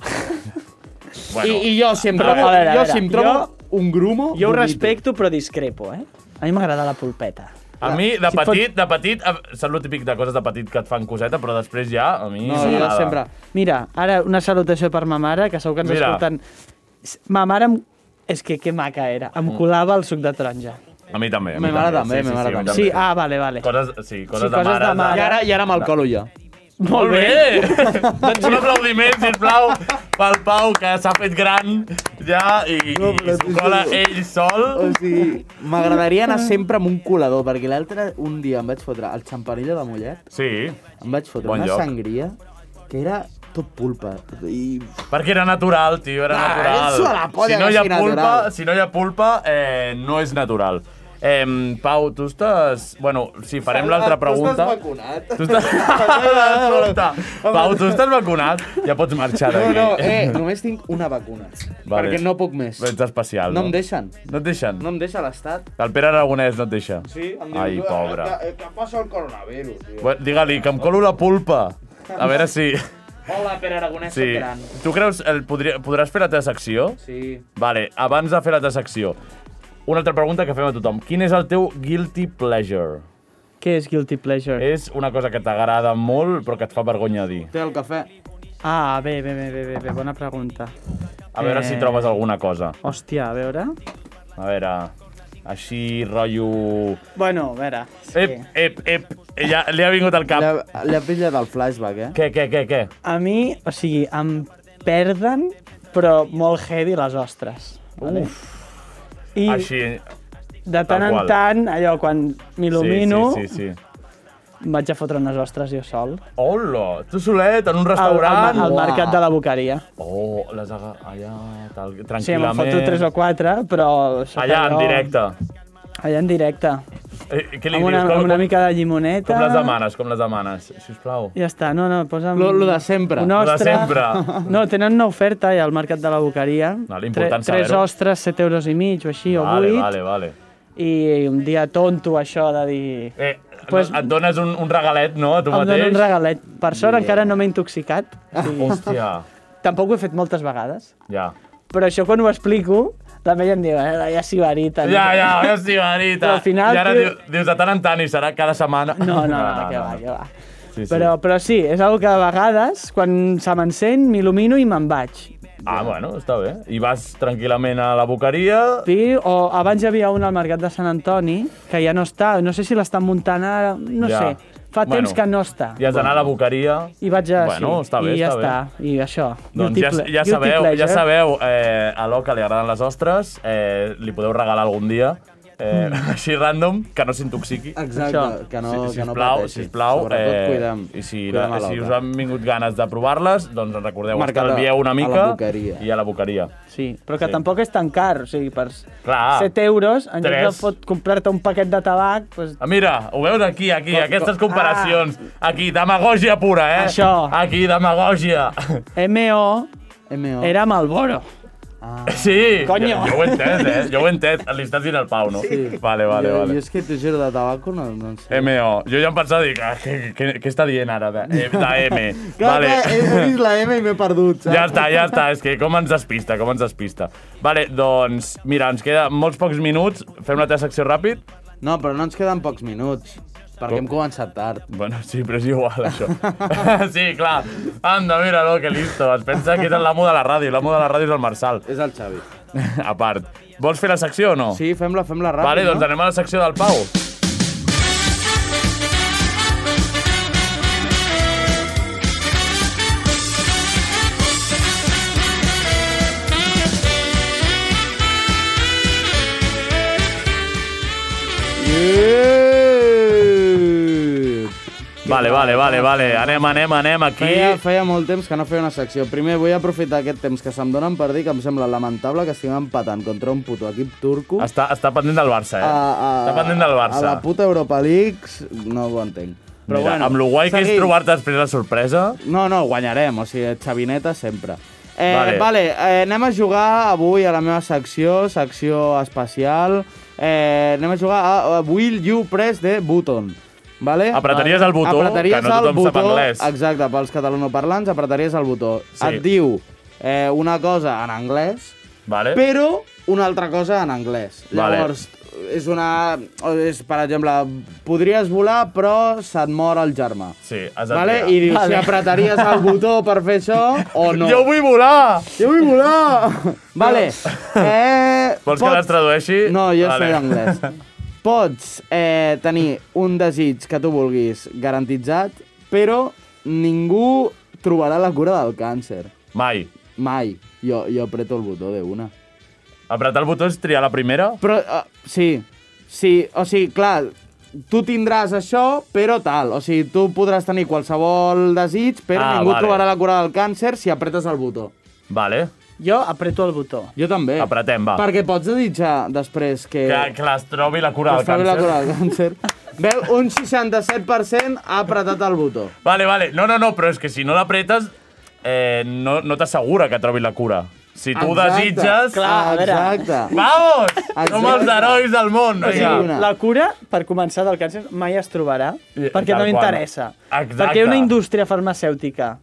S2: Bueno,
S3: I, I jo si em
S1: Però,
S3: trobo,
S1: a veure, a
S3: jo
S1: veure,
S3: si em trobo
S1: jo-
S3: un grumo...
S1: Jo ho
S3: vomito.
S1: respecto, però discrepo, eh? A mi m'agrada la pulpeta.
S2: A mi, de
S1: Si et fot-
S2: petit, de petit, eh, saps el típic de coses de petit que et fan coseta, però després ja, a mi...
S3: No,
S2: m'agrada.
S3: jo sempre...
S1: Mira, ara una salutació per ma mare, que segur que ens
S2: Mira.
S1: Mira. escolten. S- Ma mare, em... és que que maca era, em colava el suc de taronja.
S2: A mi també. a mi
S3: Me m'agrada
S2: també,
S3: també, me m'agrada
S2: a mi
S3: també.
S1: Sí, ah, vale, vale.
S2: Coses, sí, coses,
S1: Sí, coses de
S2: de
S3: I
S2: mare.
S1: mare.
S3: ara, I ara me'l colo jo.
S2: Molt bé! doncs un aplaudiment, sisplau, pel Pau, que s'ha fet gran ja i, i, i s'ho cola ell sol.
S3: O sigui, m'agradaria anar sempre amb un colador, perquè l'altre un dia em vaig fotre el xampanilla de Mollet,
S2: Sí,
S3: em vaig fotre
S2: Bon
S3: una
S2: lloc.
S3: sangria que era tot pulpa. I
S2: perquè era natural, tio, era
S3: Ah,
S2: natural.
S3: eso a la polla
S2: si no
S3: que
S2: hi ha
S3: sigui
S2: pulpa,
S3: natural.
S2: si no hi ha pulpa, eh, no és natural. Eh, Pau, tu estàs... Bueno, si farem l'altra pregunta...
S3: vacunat?
S2: Tu estàs... Escolta, Pau, tu estàs vacunat? Ja pots marxar
S3: No,
S2: d'aquí.
S3: no, eh, només tinc una vacuna.
S2: Vale.
S3: Perquè no puc més.
S2: Ets especial,
S3: No
S2: no?
S3: em deixen.
S2: No et deixen?
S3: No em deixa l'estat.
S2: El Pere Aragonès no et deixa? Ai, pobre.
S3: Que, Ah, que passa el coronavirus, tio.
S2: Bueno, Digue-li, que em colo la pulpa. A veure si...
S3: Hola, Pere Aragonès,
S2: Sí. Tu creus, el podria, podràs fer la teva secció?
S3: Sí.
S2: Vale, abans de fer la teva secció, una altra pregunta que fem a tothom. Quin és el teu guilty pleasure?
S1: Què és guilty pleasure?
S2: És una cosa que t'agrada molt però que et fa vergonya dir.
S3: Té el cafè.
S1: Ah, bé, bé, bé, bé, bé, bé, bona pregunta.
S2: A veure
S1: Eh.
S2: si trobes alguna cosa.
S1: Hòstia, a veure...
S2: A veure... Així, rotllo...
S1: Bueno, a veure... Sí.
S2: Ep, ep, ep. Ja, li ha vingut al cap.
S3: La, la pilla del flashback, eh?
S2: Què, què, què, què?
S1: A mi, o sigui, em perden, però molt heavy les ostres. Vale? Uf. I
S2: Així,
S1: de tant en
S2: qual.
S1: tant, allò, quan m'il·lumino,
S2: Sí, sí, sí, sí.
S1: vaig a fotre unes ostres jo sol.
S2: Hola, tu solet, en un
S1: Al, al,
S2: restaurant.
S1: ma- al mercat de la Boqueria.
S2: Oh, les aga... allà, tal, tranquil·lament.
S1: Sí, me'n foto tres o quatre, però... sóc
S2: Allà, en
S1: allò-
S2: directe.
S1: Allà en directe.
S2: Eh, què li
S1: Amb una,
S2: dius?
S1: amb una mica de llimoneta...
S2: com les demanes, com les demanes, sisplau.
S1: Ja està, no, no, posa'm...
S3: Lo- lo de sempre.
S1: Una
S2: Lo de
S1: ostra.
S2: sempre.
S1: No, tenen una oferta ja al Mercat de la Boqueria.
S2: Vale, important
S1: Tre- Tres
S2: saber-ho.
S1: ostres, 7 euros i mig o així, o
S2: vale,
S1: 8.
S2: vale, vale.
S1: I un dia tonto, això de dir...
S2: Eh, pues...
S1: Pues-
S2: et dones un, un regalet, no, a tu
S1: Em
S2: mateix? Ah.
S1: dono un regalet. Per sort encara no m'he intoxicat.
S2: Hòstia,
S1: Tampoc ho he fet moltes vegades.
S2: ja.
S1: Però això quan ho explico, la Mella em diu, eh, ja s'hi varita.
S2: Ja, ja, hòstia, Marita.
S1: Però al final,
S2: I ara
S1: tio-
S2: diu, dius de tant en tant i serà cada setmana. Ah,
S1: No, no, no, que va, que va.
S2: Sí, sí.
S1: Però, però sí, és una que a vegades, quan se m'encén, m'il·lumino i me'n vaig.
S2: Ah, bueno, està bé. I vas tranquil·lament a la boqueria...
S1: Sí, o abans hi havia un al Mercat de Sant Antoni, que ja no està, no sé si l'estan muntant ara, no
S2: Ja.
S1: sé. Fa
S2: Bueno.
S1: temps que no està.
S2: I has d'anar a la boqueria...
S1: I vaig a...
S2: Bueno,
S1: sí,
S2: està bé,
S1: I ja
S2: està bé.
S1: està, i això. eh?
S2: Doncs
S1: guilty
S2: ja,
S1: ple-
S2: ja
S1: guilty
S2: sabeu, ja
S1: pleasure.
S2: sabeu, eh, a l'O que li agraden les ostres, eh, li podeu regalar algun dia, eh,
S1: Mm.
S2: així random, que no s'intoxiqui.
S3: Exacte,
S1: Això.
S3: que no,
S2: si,
S3: que no
S2: sisplau,
S3: pateixi.
S2: sisplau, eh,
S3: Sobretot, cuidem,
S2: i si,
S3: cuidem a
S2: si
S3: l'altre.
S2: us han vingut ganes de provar-les, doncs recordeu,
S3: Marcat a-
S2: estalvieu una
S3: a la
S2: mica
S3: boqueria.
S2: i a la boqueria.
S1: Sí, però que
S2: Sí.
S1: tampoc és tan car, o sigui, per
S2: Clar. ah,
S1: 7 euros, en lloc de
S2: Tres.
S1: pot comprar-te un paquet de tabac, doncs
S2: Ah, mira, ho veus aquí, aquí, aquestes comparacions. Aquí, demagògia pura, eh?
S1: Això.
S2: Aquí, demagògia.
S1: MO
S3: M.O.
S1: era Malboro.
S2: Sí,
S1: Coño.
S2: Jo, jo ho he entès, eh? Jo ho he entès. Li estàs dient al Pau, no? Sí. Vale, vale,
S3: jo,
S2: vale.
S3: Jo és que t'ho juro, de tabaco no, no en sé.
S2: M.O. Jo ja em pensava dir, ah, què, què, què està dient ara de, eh, de M?
S3: Clar,
S2: vale.
S3: clar, he, he vist la M i m'he perdut, saps?
S2: Ja està, ja està, és que com ens despista, com ens despista. Vale, doncs, mira, ens queda molts pocs minuts, fem la teva secció ràpid.
S3: No, però no ens queden pocs minuts, perquè hem començat tard.
S2: Bueno, sí, però és igual, això. sí, clar. Anda, mira-lo, que listo. Es pensa que és l'amo de la ràdio, l'amo de la ràdio és el Marçal.
S3: És el Xavi.
S2: A part, vols fer la secció o no?
S3: Sí, fem-la, fem-la ràpid,
S2: Vale, doncs
S3: no?
S2: anem a la secció del Pau. Vale, vale, vale, vale. Anem, anem, anem aquí.
S3: Feia, feia molt temps que no feia una secció. Primer vull aprofitar aquest temps que se'm donen per dir que em sembla lamentable que estiguem empatant contra un puto equip turco.
S2: Està, està pendent del Barça, eh? està pendent del Barça.
S3: A la puta Europa League, no ho entenc.
S2: Però Mira, bueno, amb lo guai que és
S3: seguim.
S2: trobar-te després la sorpresa...
S3: No, no, guanyarem, o sigui, xavineta sempre. Eh,
S2: Vale.
S3: vale, vale eh, anem a jugar avui a la meva secció, secció especial. Eh, anem a jugar a, a Will You Press de Button. Vale?
S2: Apretaries el botó,
S3: apretaries
S2: que no tothom
S3: el botó,
S2: sap anglès.
S3: Exacte, pels catalanoparlants apretaries el botó.
S2: Sí.
S3: Et diu eh, una cosa en anglès,
S2: Vale?
S3: però una altra cosa en anglès.
S2: Eh? Vale.
S3: Llavors, és una... o És, per exemple, podries volar, però se't mor el germà.
S2: Sí, has de
S3: Vale?
S2: triar.
S3: I dius si apretaries el botó per fer això o no.
S2: Jo vull volar!
S3: Jo vull volar! Vale. Eh,
S2: Vols que les tradueixi?
S3: No,
S2: Vale.
S3: jo vale. sé anglès. Pots eh, tenir un desig que tu vulguis garantitzat, però ningú trobarà la cura del càncer.
S2: Mai.
S3: Mai. Jo, jo apreto el botó de una.
S2: Apretar el botó és triar la primera?
S3: Però, uh, sí, sí, o sigui, clar, tu tindràs això, però tal. O sigui, tu podràs tenir qualsevol desig, però
S2: Ah,
S3: ah, ningú
S2: vale.
S3: vale. trobarà la cura del càncer si apretes el botó.
S2: Vale.
S1: Jo apreto el botó.
S3: Jo també.
S2: Apretem, va.
S3: Perquè pots desitjar després que...
S2: Que, que les trobi la cura del
S3: que es Eh, trobi
S2: càncer.
S3: la cura del càncer. Veu, un 67% ha apretat el botó.
S2: Vale, vale. No, no, no, però és que si no l'apretes, eh, no, no t'assegura que trobi la cura. Si tu desitges...
S1: Clar, a veure.
S3: Exacte.
S2: Vamos!
S3: Exacte.
S2: Som els herois del món!
S3: O sigui,
S2: vinga.
S3: una-
S1: La cura, per començar, del càncer mai es trobarà,
S2: I-
S1: perquè
S2: tal
S1: no
S2: qual.
S1: interessa.
S2: Exacte.
S1: Perquè una indústria farmacèutica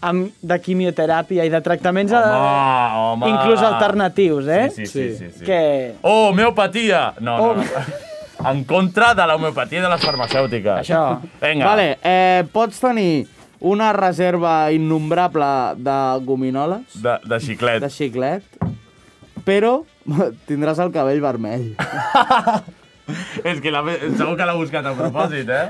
S1: amb, de quimioteràpia i de tractaments a-
S2: Home, home.
S1: inclús alternatius, eh?
S2: Sí, sí, sí. sí, sí.
S1: Que
S2: Oh, homeopatia!
S3: Oh.
S2: No, no, no. En contra de la homeopatia i de les farmacèutiques.
S1: Això.
S2: Vinga.
S3: Vale, eh, pots tenir una reserva innombrable de gominoles.
S2: De, de xiclet.
S3: de xiclet, però tindràs el cabell vermell.
S2: És que la, segur que l'ha buscat a propòsit, eh?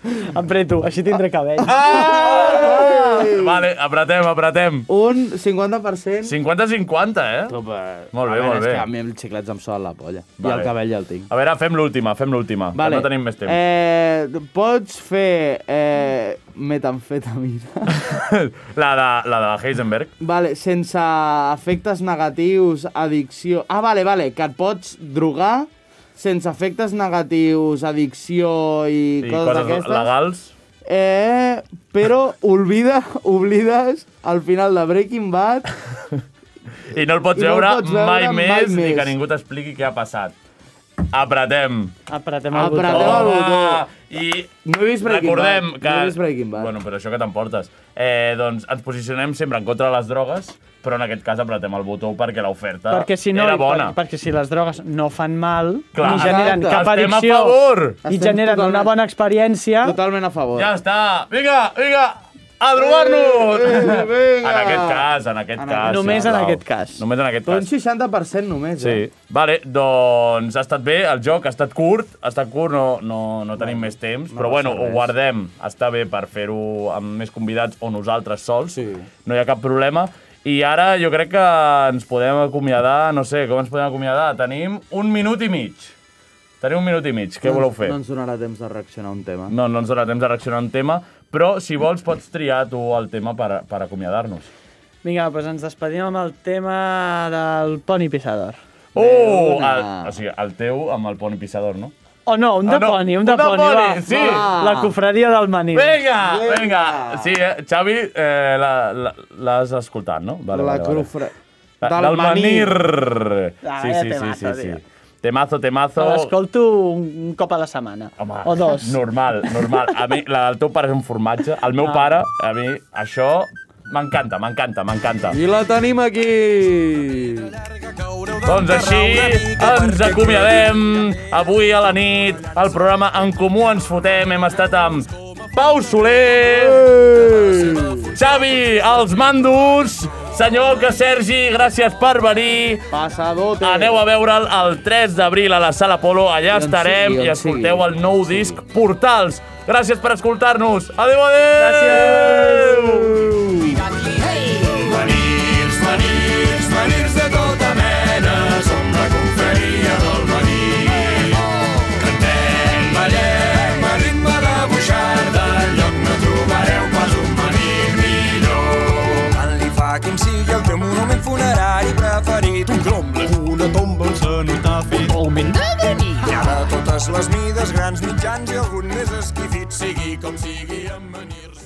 S1: Em preto, així tindré cabell.
S2: Ah! Vale, apretem, apretem.
S3: Un 50%...
S2: 50-50, eh?
S3: Opa.
S2: Molt bé,
S3: A veure,
S2: molt
S3: és
S2: bé.
S3: que a mi els xiclets em solen la polla. I
S2: Vale.
S3: el cabell ja el tinc.
S2: A veure, fem l'última, fem l'última, vale. que no tenim més temps.
S3: Eh, pots fer eh, metamfetamina.
S2: la, de, la de Heisenberg.
S3: vale, sense efectes negatius, addicció... Ah, vale, vale, que et pots drogar sense efectes negatius, addicció i,
S2: I
S3: coses,
S2: coses
S3: d'aquestes.
S2: legals.
S3: Eh, però oblida, oblides al final de Breaking Bad.
S2: I no el pots,
S3: I no el
S2: veure,
S3: pots veure
S2: mai,
S3: mai
S2: més, ni
S3: més.
S2: que ningú t'expliqui què ha passat. Apretem.
S1: Apretem el botó.
S3: Apretem el botó.
S2: I
S3: No he vist Breaking
S2: recordem
S3: Bad.
S2: que...
S3: No he vist Breaking Bad.
S2: Bueno, però això que t'emportes. Eh, doncs ens posicionem sempre en contra de les drogues, però en aquest cas apretem el botó perquè l'oferta
S1: Perquè si no,
S2: era bona.
S1: Per, perquè si les drogues no fan mal,
S2: Clar,
S1: ni generen
S3: exacte.
S1: cap
S2: Estem a
S1: addicció,
S2: favor.
S1: i
S3: Estem
S1: generen
S3: totalment-
S1: una bona experiència,
S3: Totalment a favor.
S2: Ja està! Vinga, vinga! A drogar-nos!
S3: Eh, eh, vinga.
S2: en aquest cas, en aquest
S3: En
S2: cas.
S3: aquest- Doncs
S1: Només en
S2: sisplau.
S1: aquest cas.
S2: Només en aquest
S3: Però un
S2: cas.
S3: 60% només,
S2: Sí.
S3: eh?
S2: Vale, doncs ha estat bé el joc, ha estat curt, ha estat curt, no, no, no tenim més temps, però
S3: passa
S2: bueno, ho
S3: res.
S2: guardem, està bé per fer-ho amb més convidats o nosaltres sols,
S3: Sí.
S2: no hi ha cap problema. I ara jo crec que ens podem acomiadar, no sé, com ens podem acomiadar? Tenim un minut i mig. Tenim un minut i mig,
S3: Doncs-
S2: què voleu fer?
S3: No ens donarà temps de reaccionar a un tema.
S2: No, no ens dona temps de reaccionar un tema, però si vols pots triar tu el tema per, per acomiadar-nos.
S1: vinga, doncs ens despedim amb el tema del poni pissador.
S2: Oh!
S3: una.
S2: El, o sigui, el teu amb el poni pissador, no?
S1: O oh, no, un de
S2: Ah, no,
S1: poni, un
S2: un
S1: de
S2: de
S1: poni,
S2: poni,
S1: va.
S2: sí.
S1: va. La cofraria del Manil.
S2: Vinga! Vinga! Sí, eh? Xavi, eh, la- la- l'has escoltat, no? Vale,
S3: la
S2: vale, vale.
S3: crufra...
S2: La-
S3: Del,
S2: del
S3: manir.
S2: manir!
S1: Ah,
S2: Sí,
S1: era
S2: sí, sí,
S1: temazo,
S2: sí, sí.
S1: tio.
S2: Temazo,
S1: Te
S2: temazo.
S1: l'escolto un, un cop a la setmana.
S2: Home,
S1: o dos.
S2: normal, normal. A mi, la del teu pare és un formatge. El meu pare, a mi, això... M'encanta, m'encanta, m'encanta.
S3: I la tenim aquí!
S2: Doncs així ens acomiadem avui a la nit al programa En Comú Ens Fotem. Hem estat amb Pau Soler, Xavi, els mandos, senyor que Sergi, gràcies per venir.
S3: Passadote!
S2: Aneu a veure'l el 3 d'abril a la Sala Polo, allà
S3: I on
S2: estarem
S3: sigui,
S2: i
S3: on
S2: escolteu
S3: sigui.
S2: el nou disc Portals. Gràcies per escoltar-nos. Adéu, adéu!
S5: Manirs, manirs, manirs de tota mena, som la confraria del manir. Cantem, ballem, a ritme de buixarda, enlloc no trobareu pas un manir millor. Tant li fa a qui em sigui el teu monument funerari preferit. Un cromble, una tomba, un cenotafi. O un vent de granit. Hi ha de totes les mides, grans mitjans i algun més esquifit, sigui com sigui, amb manirs.